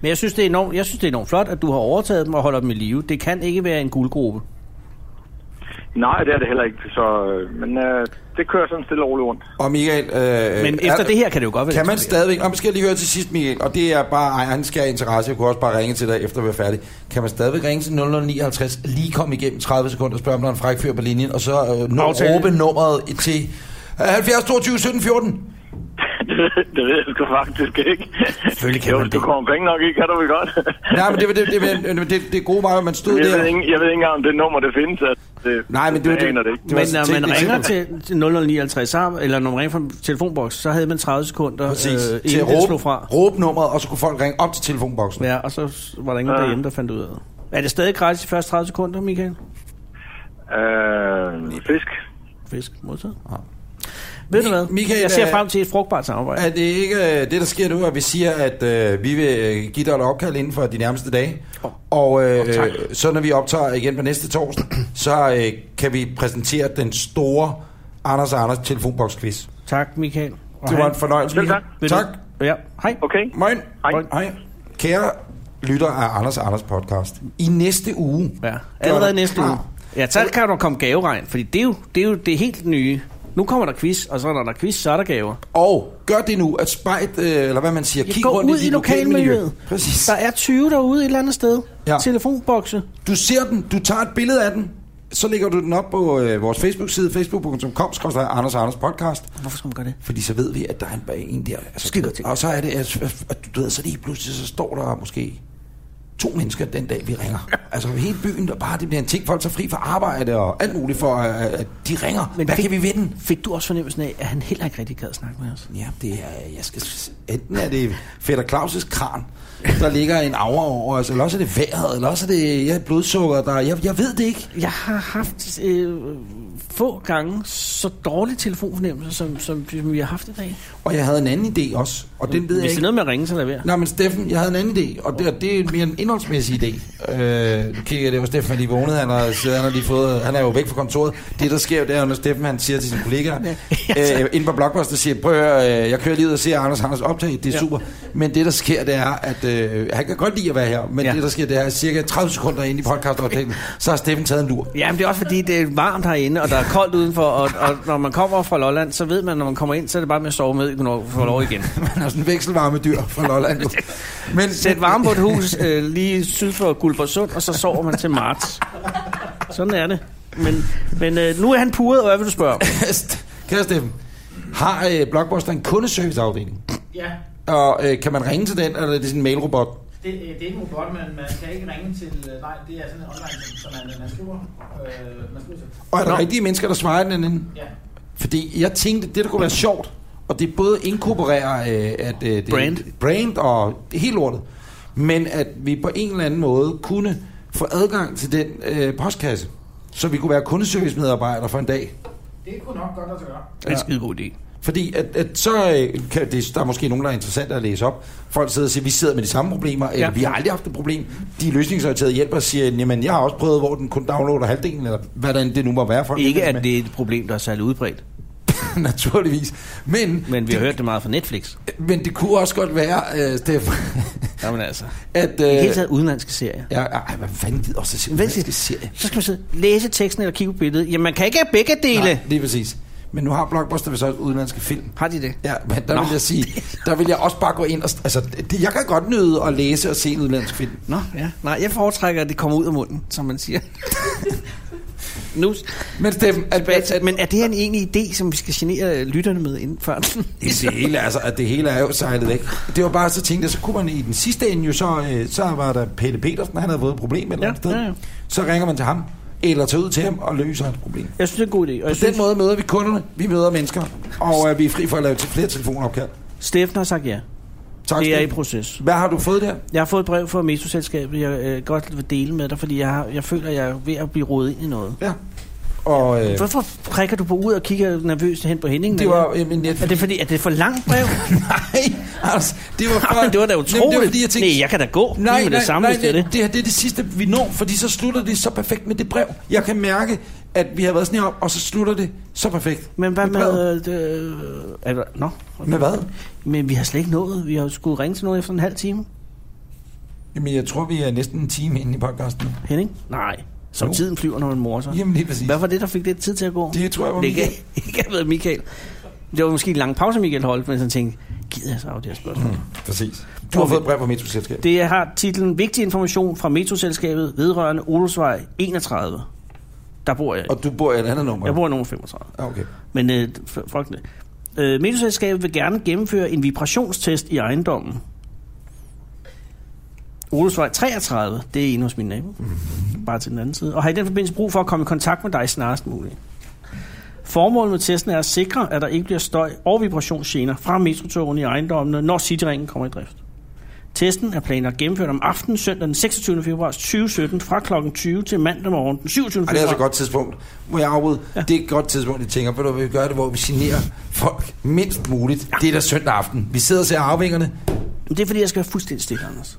Speaker 2: Men jeg synes, det er enormt, jeg synes, det er enormt flot, at du har overtaget dem og holder dem i live. Det kan ikke være en guldgruppe.
Speaker 7: Nej, det er det heller ikke. Så, øh, men øh, det kører sådan stille og roligt rundt.
Speaker 3: Og Michael... Øh,
Speaker 2: Men efter det her kan det jo godt være
Speaker 3: Kan man
Speaker 2: lidt svært.
Speaker 3: stadigvæk... Om skal jeg lige høre til sidst, Michael, og det er bare egen skær interesse. Jeg kunne også bare ringe til dig, efter vi er færdige. Kan man stadigvæk ringe til 0059, lige komme igennem 30 sekunder og spørge, om der er en fræk fyr på linjen, og så øh, nå,
Speaker 2: Aftale.
Speaker 3: råbe nummeret til øh, 70 22 17 14?
Speaker 7: <laughs> det ved jeg sgu faktisk ikke.
Speaker 2: Selvfølgelig kan
Speaker 7: jo,
Speaker 2: man
Speaker 7: hvis du
Speaker 2: det.
Speaker 7: kommer penge nok i, kan du vel godt.
Speaker 3: Nej, men det, var- det, det, det, det, det gode var, at man stod
Speaker 7: jeg, ved
Speaker 3: der...
Speaker 7: ikke, jeg ved ikke engang, om det nummer, det findes. At det,
Speaker 3: Nej, men det var
Speaker 7: jeg
Speaker 3: det-
Speaker 7: aner det ikke.
Speaker 3: det var
Speaker 2: Men
Speaker 3: sådan
Speaker 2: når
Speaker 3: et
Speaker 2: man
Speaker 3: teknisk
Speaker 2: ringer til til 0059, så har- eller når man ringer fra en telefonboks, så havde man 30 sekunder,
Speaker 3: Præcis,
Speaker 2: øh,
Speaker 3: til at
Speaker 2: inden den slog
Speaker 3: råbe,
Speaker 2: fra.
Speaker 3: råbe nummeret, og så kunne folk ringe op til telefonboksen.
Speaker 2: Ja, og så s- var der ingen derhjemme, der fandt ud af det. Er det stadig gratis de første 30 sekunder, Michael?
Speaker 7: Øh, fisk.
Speaker 2: Fisk modtaget. Ja. Ved du hvad?
Speaker 3: Michael,
Speaker 2: jeg ser
Speaker 3: øh,
Speaker 2: frem til et frugtbart samarbejde.
Speaker 3: Er det ikke øh, det, der sker nu, at vi siger, at øh, vi vil øh, give dig et opkald inden for de nærmeste dage? Og øh,
Speaker 2: tak.
Speaker 3: øh, så når vi optager igen på næste torsdag, <clears throat> så øh, kan vi præsentere den store Anders og Anders telefonboksquiz.
Speaker 2: Tak, Michael. Og
Speaker 3: Det var en fornøjelse.
Speaker 7: Selv
Speaker 3: Michael.
Speaker 2: Vil du-
Speaker 3: Tak.
Speaker 2: Ja, hej.
Speaker 7: Okay.
Speaker 3: Moin.
Speaker 7: Hej.
Speaker 3: Hej. Kære lytter af Anders og Anders podcast. I næste uge.
Speaker 2: Ja, allerede
Speaker 3: Gør Ah, dig
Speaker 2: næste
Speaker 3: klar.
Speaker 2: uge. Ja, så kan der komme gaveregn, fordi det er jo det, er jo det helt nye. Nu kommer der quiz, og så når der er quiz, så er der gaver.
Speaker 3: Og gør det nu, at spejt, øh, eller hvad man siger,
Speaker 2: Jeg
Speaker 3: kig
Speaker 2: går
Speaker 3: rundt
Speaker 2: ud
Speaker 3: i,
Speaker 2: i
Speaker 3: dit
Speaker 2: lokalmiljøet.
Speaker 3: Præcis.
Speaker 2: Der er 20 derude et eller andet sted.
Speaker 3: Ja.
Speaker 2: Telefonbokse.
Speaker 3: Du ser den, du tager et billede af den, så lægger du den op på øh, vores Facebook-side, facebook.com, skrøster Anders og Anders podcast,
Speaker 2: Hvorfor skal man gøre det?
Speaker 3: fordi så ved vi, at der er en, bag en der. Altså,
Speaker 2: Skide godt tænkt.
Speaker 3: og så er det, at, at du ved, så lige pludselig, så står der måske to mennesker den dag, vi
Speaker 2: <laughs>
Speaker 3: ringer. Altså hele byen, der bare, det bliver en ting, folk tager fri fra arbejde og alt muligt for, øh, at de ringer. Men
Speaker 2: Men
Speaker 3: Hvad
Speaker 2: fik-
Speaker 3: kan vi vinde?
Speaker 2: Fik du også fornemmelsen af, at han heller ikke rigtig gad at snakke med os?
Speaker 3: Ja, det er, jeg skal, enten er det Fætter Claus' kran, der ligger en aura over os, eller også er det vejret, eller også er det ja, blodsukker, der, jeg, jeg ved det ikke.
Speaker 2: Jeg har haft øh, få gange så dårlig telefonfornemmelse, som, som, som vi har haft i dag.
Speaker 3: Og jeg havde en anden idé også, og den ved
Speaker 2: Hvis
Speaker 3: jeg
Speaker 2: det er
Speaker 3: ikke.
Speaker 2: noget med at ringe, så lad være.
Speaker 3: Nej, men Steffen, jeg havde en anden idé, og det, og det er mere en indholdsmæssig idé. Øh, nu kigger jeg, det var Steffen, der lige vågnede, han har, så han har lige fået, han er jo væk fra kontoret. Det, der sker, jo, det er, jo, når Steffen, han siger til sine kollegaer, <laughs> øh, inde på Blockbuster, siger, prøv at høre, øh, jeg kører lige ud og ser Anders Anders optag, det er
Speaker 2: Ja.
Speaker 3: super. Men det, der sker, det er, at øh, han kan godt lide at være her, men
Speaker 2: Ja.
Speaker 3: det, der sker, det er, at cirka 30 sekunder inde i podcastoptagelsen, så har Steffen taget en lur. <laughs>
Speaker 2: Jamen, det er også fordi, det er varmt herinde, og der er koldt udenfor, og, og når man kommer fra Lolland, så ved man, når man kommer ind, så er det bare med at sove med, når man får lov igen.
Speaker 3: Han er sådan en vekselvarme dyr fra Lolland. jo. Men,
Speaker 2: <laughs> Sæt varme på et hus øh, lige syd for Guldborgsund, og så sover man til marts. Sådan er det. Men, men øh, nu er han puret, og hvad vil du spørge om?
Speaker 3: St- Kære Steffen, har øh, Blockbuster en kundeserviceafdeling?
Speaker 5: Ja,
Speaker 3: Og øh, kan man ringe til den, eller er det sådan en mailrobot?
Speaker 5: det, øh, det er ikke en robot, men man kan ikke ringe til... øh, Nej, det er sådan en online, som man, man skriver. Øh, man skriver til.
Speaker 3: Og er der
Speaker 2: Nå.
Speaker 3: rigtige mennesker, der svarer den anden?
Speaker 5: Ja.
Speaker 3: Fordi jeg tænkte, det der kunne være sjovt, og det både inkorporerer øh, at, øh, det,
Speaker 2: Brand.
Speaker 3: brand og det hele lortet, men at vi på en eller anden måde kunne få adgang til den øh, postkasse, så vi kunne være kundeservicemedarbejdere for en dag.
Speaker 5: Det kunne nok godt lade sig gøre.
Speaker 2: Det er en skide god idé.
Speaker 3: Fordi at, at så øh, kan det, der er måske nogen, der er interessant at læse op. Folk sidder og siger, vi sidder med de samme problemer, eller
Speaker 2: Ja.
Speaker 3: vi har aldrig haft et problem. De løsningsorienterede hjælper og siger, jamen jeg har også prøvet, hvor den kun downloader halvdelen, eller hvordan det nu må være. Folk
Speaker 2: Ikke,
Speaker 3: er med.
Speaker 2: at det er et problem, der er særlig udbredt.
Speaker 3: <laughs> naturligvis. Men,
Speaker 2: Men vi har
Speaker 3: det,
Speaker 2: hørt det meget fra Netflix.
Speaker 3: men det kunne også godt være, øh, Steffen,
Speaker 2: Jamen altså. I
Speaker 3: <laughs> at...
Speaker 2: det hele
Speaker 3: Øh,
Speaker 2: taget udenlandske serier.
Speaker 3: ja, ej, hvad fanden gider også at se
Speaker 2: Vent
Speaker 3: udenlandske
Speaker 2: lidt.
Speaker 3: serie?
Speaker 2: Så skal man sidde, læse teksten eller kigge på billedet. Jamen, man kan ikke have begge dele.
Speaker 3: Nej,
Speaker 2: Nej.
Speaker 3: lige præcis. Men nu har Blockbuster så også udenlandske film.
Speaker 2: Har de det?
Speaker 3: Ja, men der Nå. vil jeg sige, der vil jeg også bare gå ind og... Altså, det, jeg kan godt nyde at læse og se udenlandsk film.
Speaker 2: Nå, ja. Nej, jeg foretrækker, at det kommer ud af munden, som man siger. <laughs> nu,
Speaker 3: Men Steffen, at, at, at,
Speaker 2: men er det her en egentlig idé, som vi skal genere lytterne med inden før?
Speaker 3: det, det hele, altså, at det hele er jo sejlet væk. Det var bare så tænkte jeg, så kunne man i den sidste ende jo så, øh, så var der Pelle Petersen, han havde fået et problem et eller
Speaker 2: Ja,
Speaker 3: andet sted.
Speaker 2: ja, ja.
Speaker 3: Så ringer man til ham, eller tager ud til ham og løser hans problem.
Speaker 2: jeg synes, det er en god idé. Og jeg
Speaker 3: På den
Speaker 2: synes,
Speaker 3: måde møder vi kunderne, vi møder mennesker, og øh, vi er fri for at lave til flere telefonopkald.
Speaker 2: Steffen har sagt ja.
Speaker 3: Tak
Speaker 2: Det er i
Speaker 3: skal du
Speaker 2: proces.
Speaker 3: Hvad har du fået der?
Speaker 2: Jeg har fået et brev fra Metroselskabet, jeg øh, godt vil dele med dig, fordi jeg, har, jeg føler, jeg er ved at blive rodet ind i noget.
Speaker 3: Ja. Og øh,
Speaker 2: Hvorfor prikker du på ud og kigger nervøst hen på Henning?
Speaker 3: det var øh, min net...
Speaker 2: Er det fordi, er det for langt brev?
Speaker 3: <laughs> Nej, altså, det var
Speaker 2: Ej, men det var da utroligt.
Speaker 3: Jamen, det var, fordi jeg tænkte,
Speaker 2: Nej, jeg kan da gå lige
Speaker 3: Nej,
Speaker 2: med det
Speaker 3: nej,
Speaker 2: samme,
Speaker 3: nej,
Speaker 2: hvis det er
Speaker 3: nej,
Speaker 2: det.
Speaker 3: det her det er det sidste, vi når, fordi så slutter det så perfekt med det brev. Jeg kan mærke, at vi har været sådan her op, og så slutter det så perfekt.
Speaker 2: Men hvad
Speaker 3: brevet.
Speaker 2: med... Øh, er der, nå.
Speaker 3: Med hvad?
Speaker 2: Men vi har slet ikke nået. Vi har jo skulle ringe til nogen efter en halv time.
Speaker 3: Jamen, jeg tror, vi er næsten en time inde i podcasten.
Speaker 2: Henning? Nej. Som
Speaker 3: Jo.
Speaker 2: tiden flyver, når man morer sig.
Speaker 3: Jamen, lige præcis.
Speaker 2: Hvad var det, der fik det tid til at gå?
Speaker 3: Det tror jeg var
Speaker 2: det kan,
Speaker 3: Michael.
Speaker 2: <laughs> ikke have været Michael. Det var måske en lang pause, Michael holdt, men så tænkte gider jeg så af det her spørgsmål? Mm.
Speaker 3: Præcis. Du har fået et brev fra Metroselskabet.
Speaker 2: Det har titlen Vigtig information fra Metroselskabet vedrørende Olsvej 31. Der bor jeg.
Speaker 3: Og du bor i et andet nummer?
Speaker 2: Jeg bor i nummer 35.
Speaker 3: Ah, Okay.
Speaker 2: Men øh, f- fuck det. Øh, Metroselskabet vil gerne gennemføre en vibrationstest i ejendommen. Olesvej 33, det er en hos min nabo.
Speaker 3: Mhm.
Speaker 2: Bare til den anden side. Og har i den forbindelse brug for at komme i kontakt med dig snarest muligt. Formålet med testen er at sikre, at der ikke bliver støj og vibrationsgener fra metrotogene i ejendommene, når Cityringen kommer i drift. Testen er planlagt gennemført om aftenen søndag den 26. februar 2017 fra kl. 20 til mandag morgen den 27.
Speaker 3: Ej, det er altså et
Speaker 2: februar.
Speaker 3: godt tidspunkt. Må jeg afbryde? Ja. Det er et godt tidspunkt, jeg tænker. Ved du, hvad vi gør det, hvor vi generer folk mindst muligt. Ja. Det er da søndag aften. Vi sidder og ser afvingerne.
Speaker 2: Men det er fordi, jeg skal være fuldstændig stille, Anders.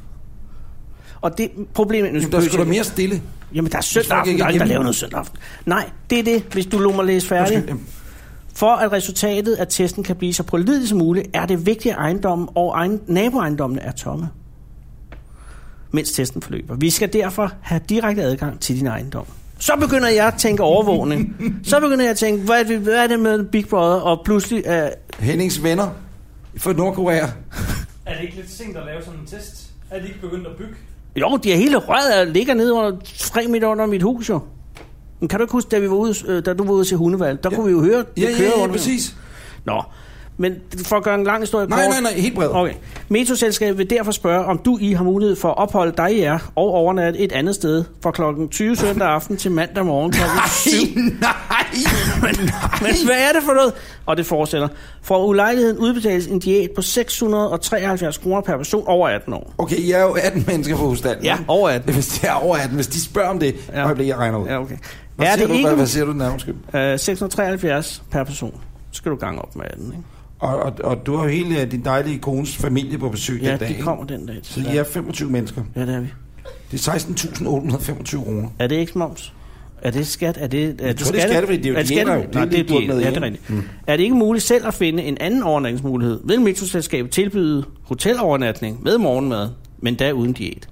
Speaker 2: Og det problemet...
Speaker 3: Jamen, der skulle da mere stille.
Speaker 2: Jamen, der er søndag
Speaker 3: folk
Speaker 2: aften.
Speaker 3: ikke
Speaker 2: Der er ikke, der
Speaker 3: hjemme.
Speaker 2: laver noget søndag aften. Nej, det er det, hvis du lå mig læse færdig.
Speaker 3: Undskyld, jamen.
Speaker 2: For at resultatet af testen kan blive så pålidelig som muligt, er det vigtigt, at ejendommen og egen, naboejendommene er tomme, mens testen forløber. Vi skal derfor have direkte adgang til din ejendom. Så begynder jeg at tænke
Speaker 3: <laughs>
Speaker 2: overvågning. så begynder jeg at tænke, hvad er det, hvad er det med Big Brother? Og pludselig øh,
Speaker 3: Hennings venner fra Nordkorea.
Speaker 5: Er det ikke lidt sent at lave sådan en test? Er de ikke begyndt at bygge?
Speaker 2: Jo, de er hele røret og ligger nede under, tre meter under mit hus jo. Men kan du ikke huske, da, vi var ude, øh, da du var ude til hundevalg, der ja. kunne vi jo høre, det
Speaker 3: Ja, ja,
Speaker 2: kører
Speaker 3: ja, ja
Speaker 2: under.
Speaker 3: præcis.
Speaker 2: Nå, men for at gøre en lang historie
Speaker 3: Nej,
Speaker 2: kort...
Speaker 3: nej, nej, helt bred.
Speaker 2: Okay. Metroselskabet vil derfor spørge, om du I har mulighed for at opholde dig i jer og overnatte et andet sted fra klokken 20 søndag aften til mandag morgen klokken 7.
Speaker 3: nej,
Speaker 2: Men hvad er det for noget? Og det fortsætter. For ulejligheden udbetales en diæt på 673 kroner per person over 18 år.
Speaker 3: Okay, jeg er jo 18 <laughs> mennesker på husstanden.
Speaker 2: Ja,
Speaker 3: ikke?
Speaker 2: over 18.
Speaker 3: Hvis det er over 18, hvis de spørger om det, ja. øjeblik, jeg regner ud.
Speaker 2: Ja, okay.
Speaker 3: Hvad,
Speaker 2: er
Speaker 3: siger
Speaker 2: det
Speaker 3: du,
Speaker 2: ikke
Speaker 3: hvad, hvad siger du den her, undskyld?
Speaker 2: Øh, 673 per person. Så skal du gange op med 18, ikke?
Speaker 3: Og, og, og du har jo hele øh, din dejlige kones familie på besøg
Speaker 2: Ja,
Speaker 3: den dag.
Speaker 2: det
Speaker 3: ikke?
Speaker 2: kommer den dag.
Speaker 3: Så
Speaker 2: til.
Speaker 3: I er 25 mennesker.
Speaker 2: Ja, det er vi.
Speaker 3: Det er 16.825 kroner.
Speaker 2: Er det ikke moms? Er det skat? Er det, er det,
Speaker 3: tror, det er skattefrit. Det er jo
Speaker 2: er det
Speaker 3: diæter,
Speaker 2: skattefrit?
Speaker 3: jo. Det er
Speaker 2: Nej, det er
Speaker 3: det, du har
Speaker 2: diæter.
Speaker 3: med
Speaker 2: Ja, det er
Speaker 3: hjem.
Speaker 2: rigtigt. Mm. Er det ikke muligt selv at finde en anden overnatningsmulighed? Vil metroselskabet tilbyde hotelovernatning med morgenmad, men da uden diæt?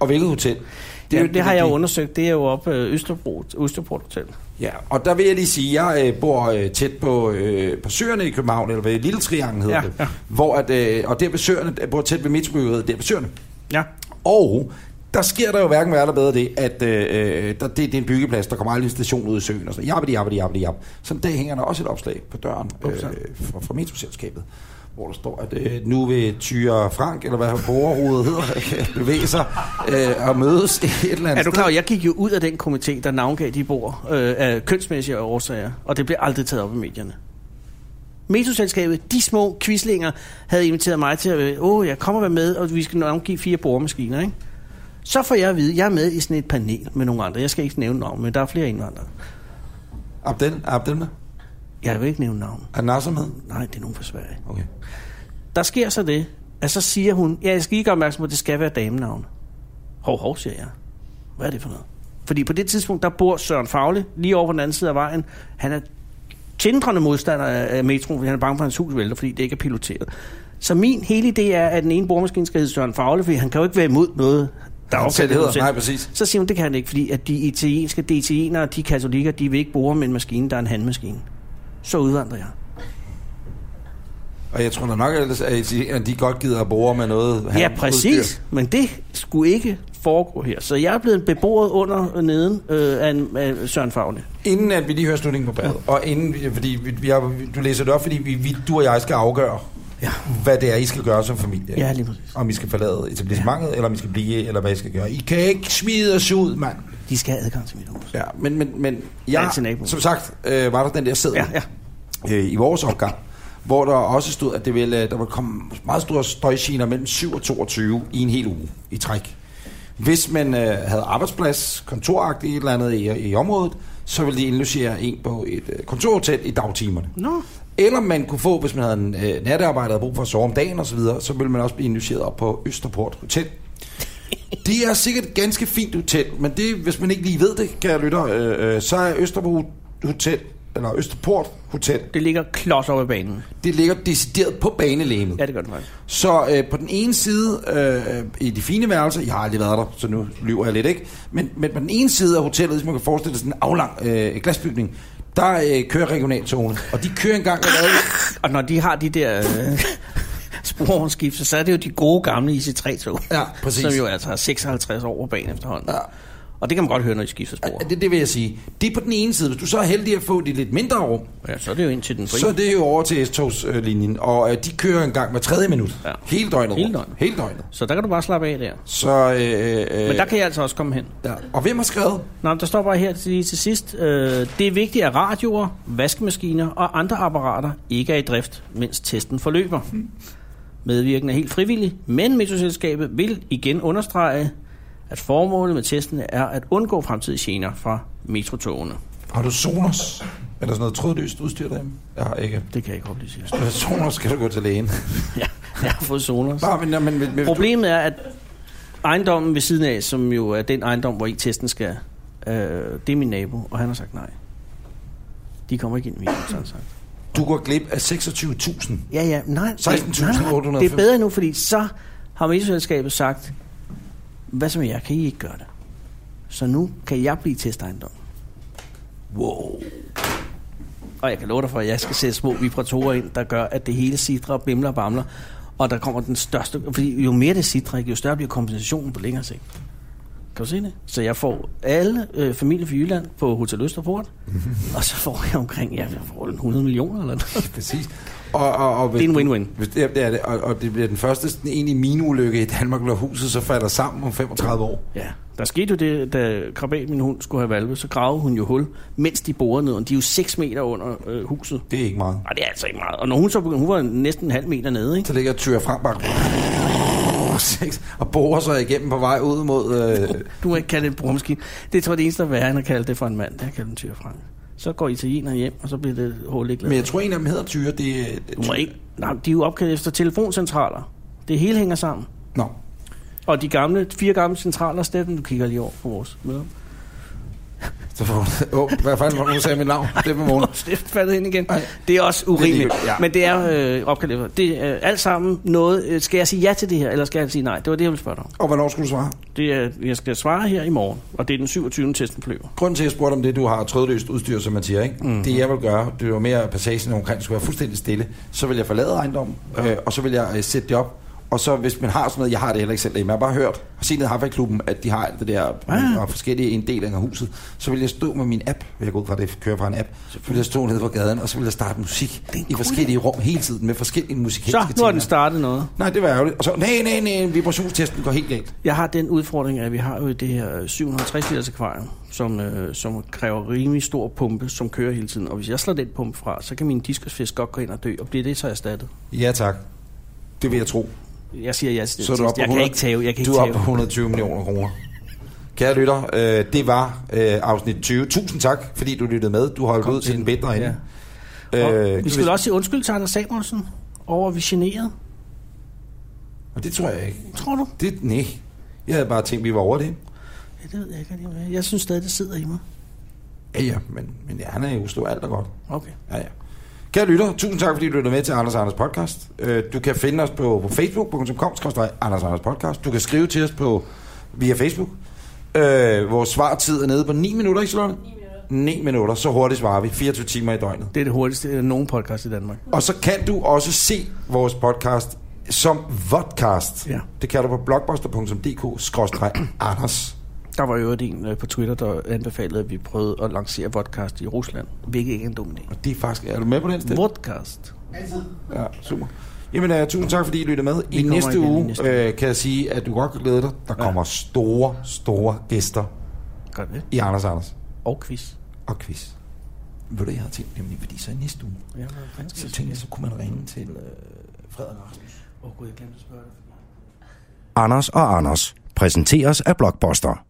Speaker 3: Og hvilket hotel?
Speaker 2: Det,
Speaker 3: er
Speaker 2: Jamen, det har jeg jo
Speaker 3: vigtige.
Speaker 2: undersøgt. Det er jo oppe øh, Østerbro, Østerbro Hotel.
Speaker 3: Ja, og der vil jeg lige sige, at jeg øh, bor øh, tæt på, øh, på Søerne i København, eller hvad Lille Triangel hedder
Speaker 2: Ja,
Speaker 3: det.
Speaker 2: ja.
Speaker 3: Hvor at, øh, og der ved Søerne, jeg bor tæt ved Midtbyggeriet, der ved Søerne.
Speaker 2: Ja.
Speaker 3: Og der sker der jo hverken værre eller bedre det, at øh, der, det, det er en byggeplads, der kommer aldrig en station ud i søen og sådan jabbedi, jabbedi, jabbedi, jab. Så en dag hænger der også et opslag på døren øh, fra, fra metroselskabet, hvor der står, at øh, nu vil Tyre Frank, eller hvad borgerhovedet hedder, <laughs> bevæge sig øh, og mødes et eller andet
Speaker 2: Er du klar? over, Jeg gik jo ud af den komité, der navngav de bord øh, af kønsmæssige årsager, og det blev aldrig taget op i medierne. Metroselskabet, de små quislinger, havde inviteret mig til at, øh, åh, jeg kommer være med, og vi skal navngive fire boremaskiner, ikke? Så får jeg at vide, jeg er med i sådan et panel med nogle andre. Jeg skal ikke nævne navn, men der er flere indvandrere.
Speaker 3: Abdel, er Abdel med?
Speaker 2: Jeg vil ikke nævne navn.
Speaker 3: Er Nasser med?
Speaker 2: Nej, det er nogen fra Sverige.
Speaker 3: Okay.
Speaker 2: Der sker så det, at så siger hun, ja, jeg skal ikke opmærksom på, at det skal være damenavn. Hov, hov, siger jeg. Hvad er det for noget? Fordi på det tidspunkt, der bor Søren Fagli lige over på den anden side af vejen. Han er sindrende modstander af af Metro, fordi han er bange for, at hans hus vælter, fordi det ikke er piloteret. Så min hele idé er, at den ene boremaskine skal hedde Søren Fagle, fordi han kan jo ikke være imod noget, der
Speaker 3: Han
Speaker 2: også
Speaker 3: selv
Speaker 2: er
Speaker 3: hedder.
Speaker 2: piloteret.
Speaker 3: Nej, præcis.
Speaker 2: Så siger hun, det kan han ikke, fordi at de italienske DTN'ere, de katolikker, de vil ikke bore med en maskine, der er en handmaskine. Så udvandrer jeg.
Speaker 3: Og jeg tror da nok, ellers, at italienerne, de godt gider at bore med noget.
Speaker 2: Ja,
Speaker 3: handudstyr.
Speaker 2: præcis. Men det skulle ikke foregå her. Så jeg er blevet beboet under og neden øh, af, en, af Søren Fagne.
Speaker 3: Inden at vi lige hører slutningen på badet, og inden, vi- fordi vi, vi har, du læser det op, fordi vi, vi, du og jeg skal afgøre, ja. hvad det er, I skal gøre som familie.
Speaker 2: Ja, lige præcis.
Speaker 3: Om I skal forlade etablissementet, ja. eller om I skal blive, eller hvad I skal gøre. I kan ikke smide os ud, mand.
Speaker 2: De skal have adgang til mit hus.
Speaker 3: Ja, men, men, men jeg,
Speaker 2: Altid naboen.
Speaker 3: som sagt, øh, var der den der sædel
Speaker 2: Ja, ja.
Speaker 3: øh, i vores opgang, hvor der også stod, at det ville, øh, der ville komme meget store støjgener mellem 7 og 22 i en hel uge i træk. Hvis man øh, havde arbejdsplads, kontoragtigt et eller andet i, i området, så ville de indlogere en på et øh, kontorhotel i dagtimerne.
Speaker 2: Nå.
Speaker 3: Eller man kunne få, hvis man havde en øh, nattearbejder og brug for at sove om dagen osv., så, så ville man også blive indlogeret op på Østerport
Speaker 2: <laughs>
Speaker 3: Hotel. Det er sikkert et ganske fint hotel, men det, hvis man ikke lige ved det, kan jeg lytte, øh, øh, så er Østerport Hotel, eller Østerport Hotel,
Speaker 2: Det ligger klods op ad banen.
Speaker 3: det ligger decideret på banelæmet.
Speaker 2: Ja, det gør det faktisk.
Speaker 3: Så øh, på den ene side, øh, i de fine værelser, jeg har aldrig været der, så nu lyver jeg lidt, ikke? Men, men på den ene side af hotellet, hvis man kan forestille sig sådan en aflang øh, glasbygning, der øh, kører regionaltogene, og de kører engang
Speaker 2: <laughs>
Speaker 3: og lader-
Speaker 2: Og når de har de der øh, <laughs> sporvognskifter, så er det jo de gode gamle IC3-tog.
Speaker 3: Ja, præcis.
Speaker 2: Som jo altså har 56 år på banen efterhånden.
Speaker 3: Ja.
Speaker 2: Og det kan man godt høre, når de skifter spor.
Speaker 3: Ja, det, det vil jeg sige. Det er på den ene side. Hvis du så er heldig at få de lidt mindre rum,
Speaker 2: Ja, så er det jo ind til den frie.
Speaker 3: så er det jo over til S-togslinjen, og øh, de kører en gang hver tredje minut.
Speaker 2: Ja.
Speaker 3: Hele døgnet.
Speaker 2: Hele
Speaker 3: rundt.
Speaker 2: døgnet.
Speaker 3: Hele døgnet.
Speaker 2: så der kan du bare slappe af der.
Speaker 3: Så, øh, øh,
Speaker 2: Men der kan jeg altså også komme hen.
Speaker 3: ja. Og hvem har skrevet?
Speaker 2: Nå, men der står bare her til, lige til sidst. Øh, det er vigtigt, at radioer, vaskemaskiner og andre apparater ikke er i drift, mens testen forløber. Medvirkende er helt frivillig, men Metroselskabet vil igen understrege, at formålet med testen er at undgå fremtidige gener fra metrotogene.
Speaker 3: Har du Sonos? Er der sådan noget trådløst udstyr derhjemme? Jeg har ikke.
Speaker 2: Det kan jeg ikke oplyse.
Speaker 3: Hvis du har Sonos, skal du gå til lægen.
Speaker 2: <laughs> Ja, jeg har fået Sonos.
Speaker 3: Bare, men, men, men, men,
Speaker 2: Problemet er, at ejendommen ved siden af, som jo er den ejendom, hvor i testen skal, øh, det er min nabo, og han har sagt nej. De kommer ikke ind i min hus, har han sagt.
Speaker 3: du går glip af 26.000.
Speaker 2: Ja, ja, nej.
Speaker 3: 16.805.
Speaker 2: nej, Det er bedre nu, fordi så har medieselskabet sagt, hvad som jeg, kan I ikke gøre det? Så nu kan jeg blive testejendom.
Speaker 3: Wow.
Speaker 2: Og jeg kan love dig for, at jeg skal sætte små vibratorer ind, der gør, at det hele sidder og bimler og bamler. Og der kommer den største... Fordi jo mere det sidder, jo større bliver kompensationen på længere sigt. Kan du se det? Så jeg får alle øh, familie fra Jylland på Hotel Østerport, og så får jeg omkring ja, jeg får 100 millioner eller noget.
Speaker 3: Præcis. Og, og, og hvis
Speaker 2: Det er en
Speaker 3: du-
Speaker 2: win-win.
Speaker 3: Hvis det, det er det, og, og det bliver den første sådan, egentlig mineulykke i Danmark, når huset så falder sammen om 35 år.
Speaker 2: Ja, der skete jo det, da krabat, min hund, skulle have valpe, så gravede hun jo hul, mens de borede ned. De er jo 6 meter under øh, huset.
Speaker 3: Det er ikke meget.
Speaker 2: Nej, det er altså ikke meget. Og når hun så begyndte, hun var næsten en halv meter nede, ikke?
Speaker 3: Så ligger Tyre Frambach og borer sig igennem på vej ud mod... Øh,
Speaker 2: Du må ikke kalde det en boremaskine. Det tror jeg, det eneste der er værre, end at kalde det for en mand. Det har kaldt en tyr frank. Så går italienerne hjem, og så bliver det hul ikke
Speaker 3: men
Speaker 2: lavet.
Speaker 3: jeg tror, en af dem hedder Tyre. Det, er- det,
Speaker 2: Du må ikke... Nej, de er jo opkaldt efter telefoncentraler. Det hele hænger sammen.
Speaker 3: Nå.
Speaker 2: Og de gamle, fire gamle centraler, Steffen, du kigger lige over på vores møder.
Speaker 3: Så får hun... Åh, hvad fanden var det, hun sagde mit navn? Det er på morgen.
Speaker 2: Steffen faldet ind igen.
Speaker 3: Ej.
Speaker 2: Det er også
Speaker 3: Det er
Speaker 2: urimeligt.
Speaker 3: ligegyldigt, ja.
Speaker 2: Men det er øh, opkaldt efter. Det er øh, alt sammen noget... Øh, skal jeg sige ja til det her, eller skal jeg sige nej? Det var det, jeg ville spørge dig om.
Speaker 3: Og hvornår skulle du svare?
Speaker 2: Det er, jeg skal svare her i morgen, og det er den 27. testen flyver.
Speaker 3: Grunden til, at jeg spurgte om det, du har trådløst udstyr, som man siger, ikke? Mm. det jeg vil gøre, det var mere at passagen omkring, skulle være fuldstændig stille, så vil jeg forlade ejendommen, øh, og så vil jeg øh, sætte det op, og så hvis man har sådan noget, jeg har det heller ikke selv, men jeg har bare hørt, og set ned i Harvard-klubben, at de har alt det der, ah. og forskellige inddelinger af huset, så vil jeg stå med min app, vil jeg gå ud fra, at det kører fra en app, så vil jeg stå nede på gaden, og så vil jeg starte musik i forskellige rum hele tiden, med forskellige musikalske
Speaker 2: Så, nu har den
Speaker 3: temaer.
Speaker 2: startet noget.
Speaker 3: Nej, det var ærgerligt. Og så, nej, nej, nej, vibrationstesten går helt galt.
Speaker 2: Jeg har den udfordring, at vi har jo det her øh, 760 liters akvarium, som, øh, som kræver rimelig stor pumpe, som kører hele tiden. Og hvis jeg slår den pumpe fra, så kan min diskusfisk godt gå ind og dø, og bliver det så erstattet.
Speaker 3: Ja, tak. Det vil jeg tro.
Speaker 2: Jeg siger ja til det.
Speaker 3: Så er du oppe på
Speaker 2: jeg kan
Speaker 3: 100
Speaker 2: ikke tage, jeg kan
Speaker 3: du
Speaker 2: ikke
Speaker 3: er oppe på
Speaker 2: tage.
Speaker 3: 120 millioner kroner. Kære lytter, øh, det var øh, afsnit 20. Tusind tak, fordi du lyttede med. Du holdt ud til den bedre ende. Ja.
Speaker 2: Øh,
Speaker 3: Øh,
Speaker 2: vi skal vel også sige undskyld til Anders Samuelsen over, at vi generede.
Speaker 3: hvis- det tror jeg ikke.
Speaker 2: Tror du?
Speaker 3: Det, nej. Jeg havde bare tænkt, vi var over det.
Speaker 2: Ja, det ved jeg ikke. rigtig, hvad jeg er. Jeg synes stadig, det sidder i mig.
Speaker 3: Ja, ja, men, men ja, han er i Oslo, alt er godt.
Speaker 2: Okay.
Speaker 3: Ja, ja. Kære lytter, tusind tak, fordi du lytter med til Anders og Anders Podcast. Øh, Du kan finde os på, på facebook.com, Anders og Anders Podcast. Du kan skrive til os på via Facebook. Øh, vores svartid er nede på 9 minutter, ikke Charlotte? 9 minutter. 9 minutter, så hurtigt svarer vi. 24 timer i døgnet.
Speaker 2: Det er det hurtigste af nogen podcast i Danmark.
Speaker 3: Og så kan du også se vores podcast som vodcast.
Speaker 2: Ja.
Speaker 3: Det kan du på blogbuster.dk-anders.
Speaker 2: Der var jo en øh, på Twitter, der anbefalede, at vi prøvede at lancere vodcast i Rusland. Hvilket ikke er en dum idé.
Speaker 3: Det er faktisk... Er du med på den, Sten?
Speaker 2: Vodcast.
Speaker 3: Ja, super. Jamen, uh, tusind tak, fordi I lyttede med. I
Speaker 2: kommer
Speaker 3: næste
Speaker 2: igen i
Speaker 3: uge
Speaker 2: næste
Speaker 3: øh, kan jeg sige, at du godt kan glæde dig. Der kommer store, store gæster
Speaker 2: Gør det.
Speaker 3: i Anders Anders
Speaker 2: Og quiz.
Speaker 3: og quiz. Ved du, hvad jeg har tænkt? Nemlig, fordi så i næste uge,
Speaker 2: Ja,
Speaker 3: så tænkte jeg, så kunne man ringe til øh, Frederik Rasmus.
Speaker 2: Åh gud, jeg glemte at spørge dig.
Speaker 1: Anders og Anders præsenteres af Blockbuster.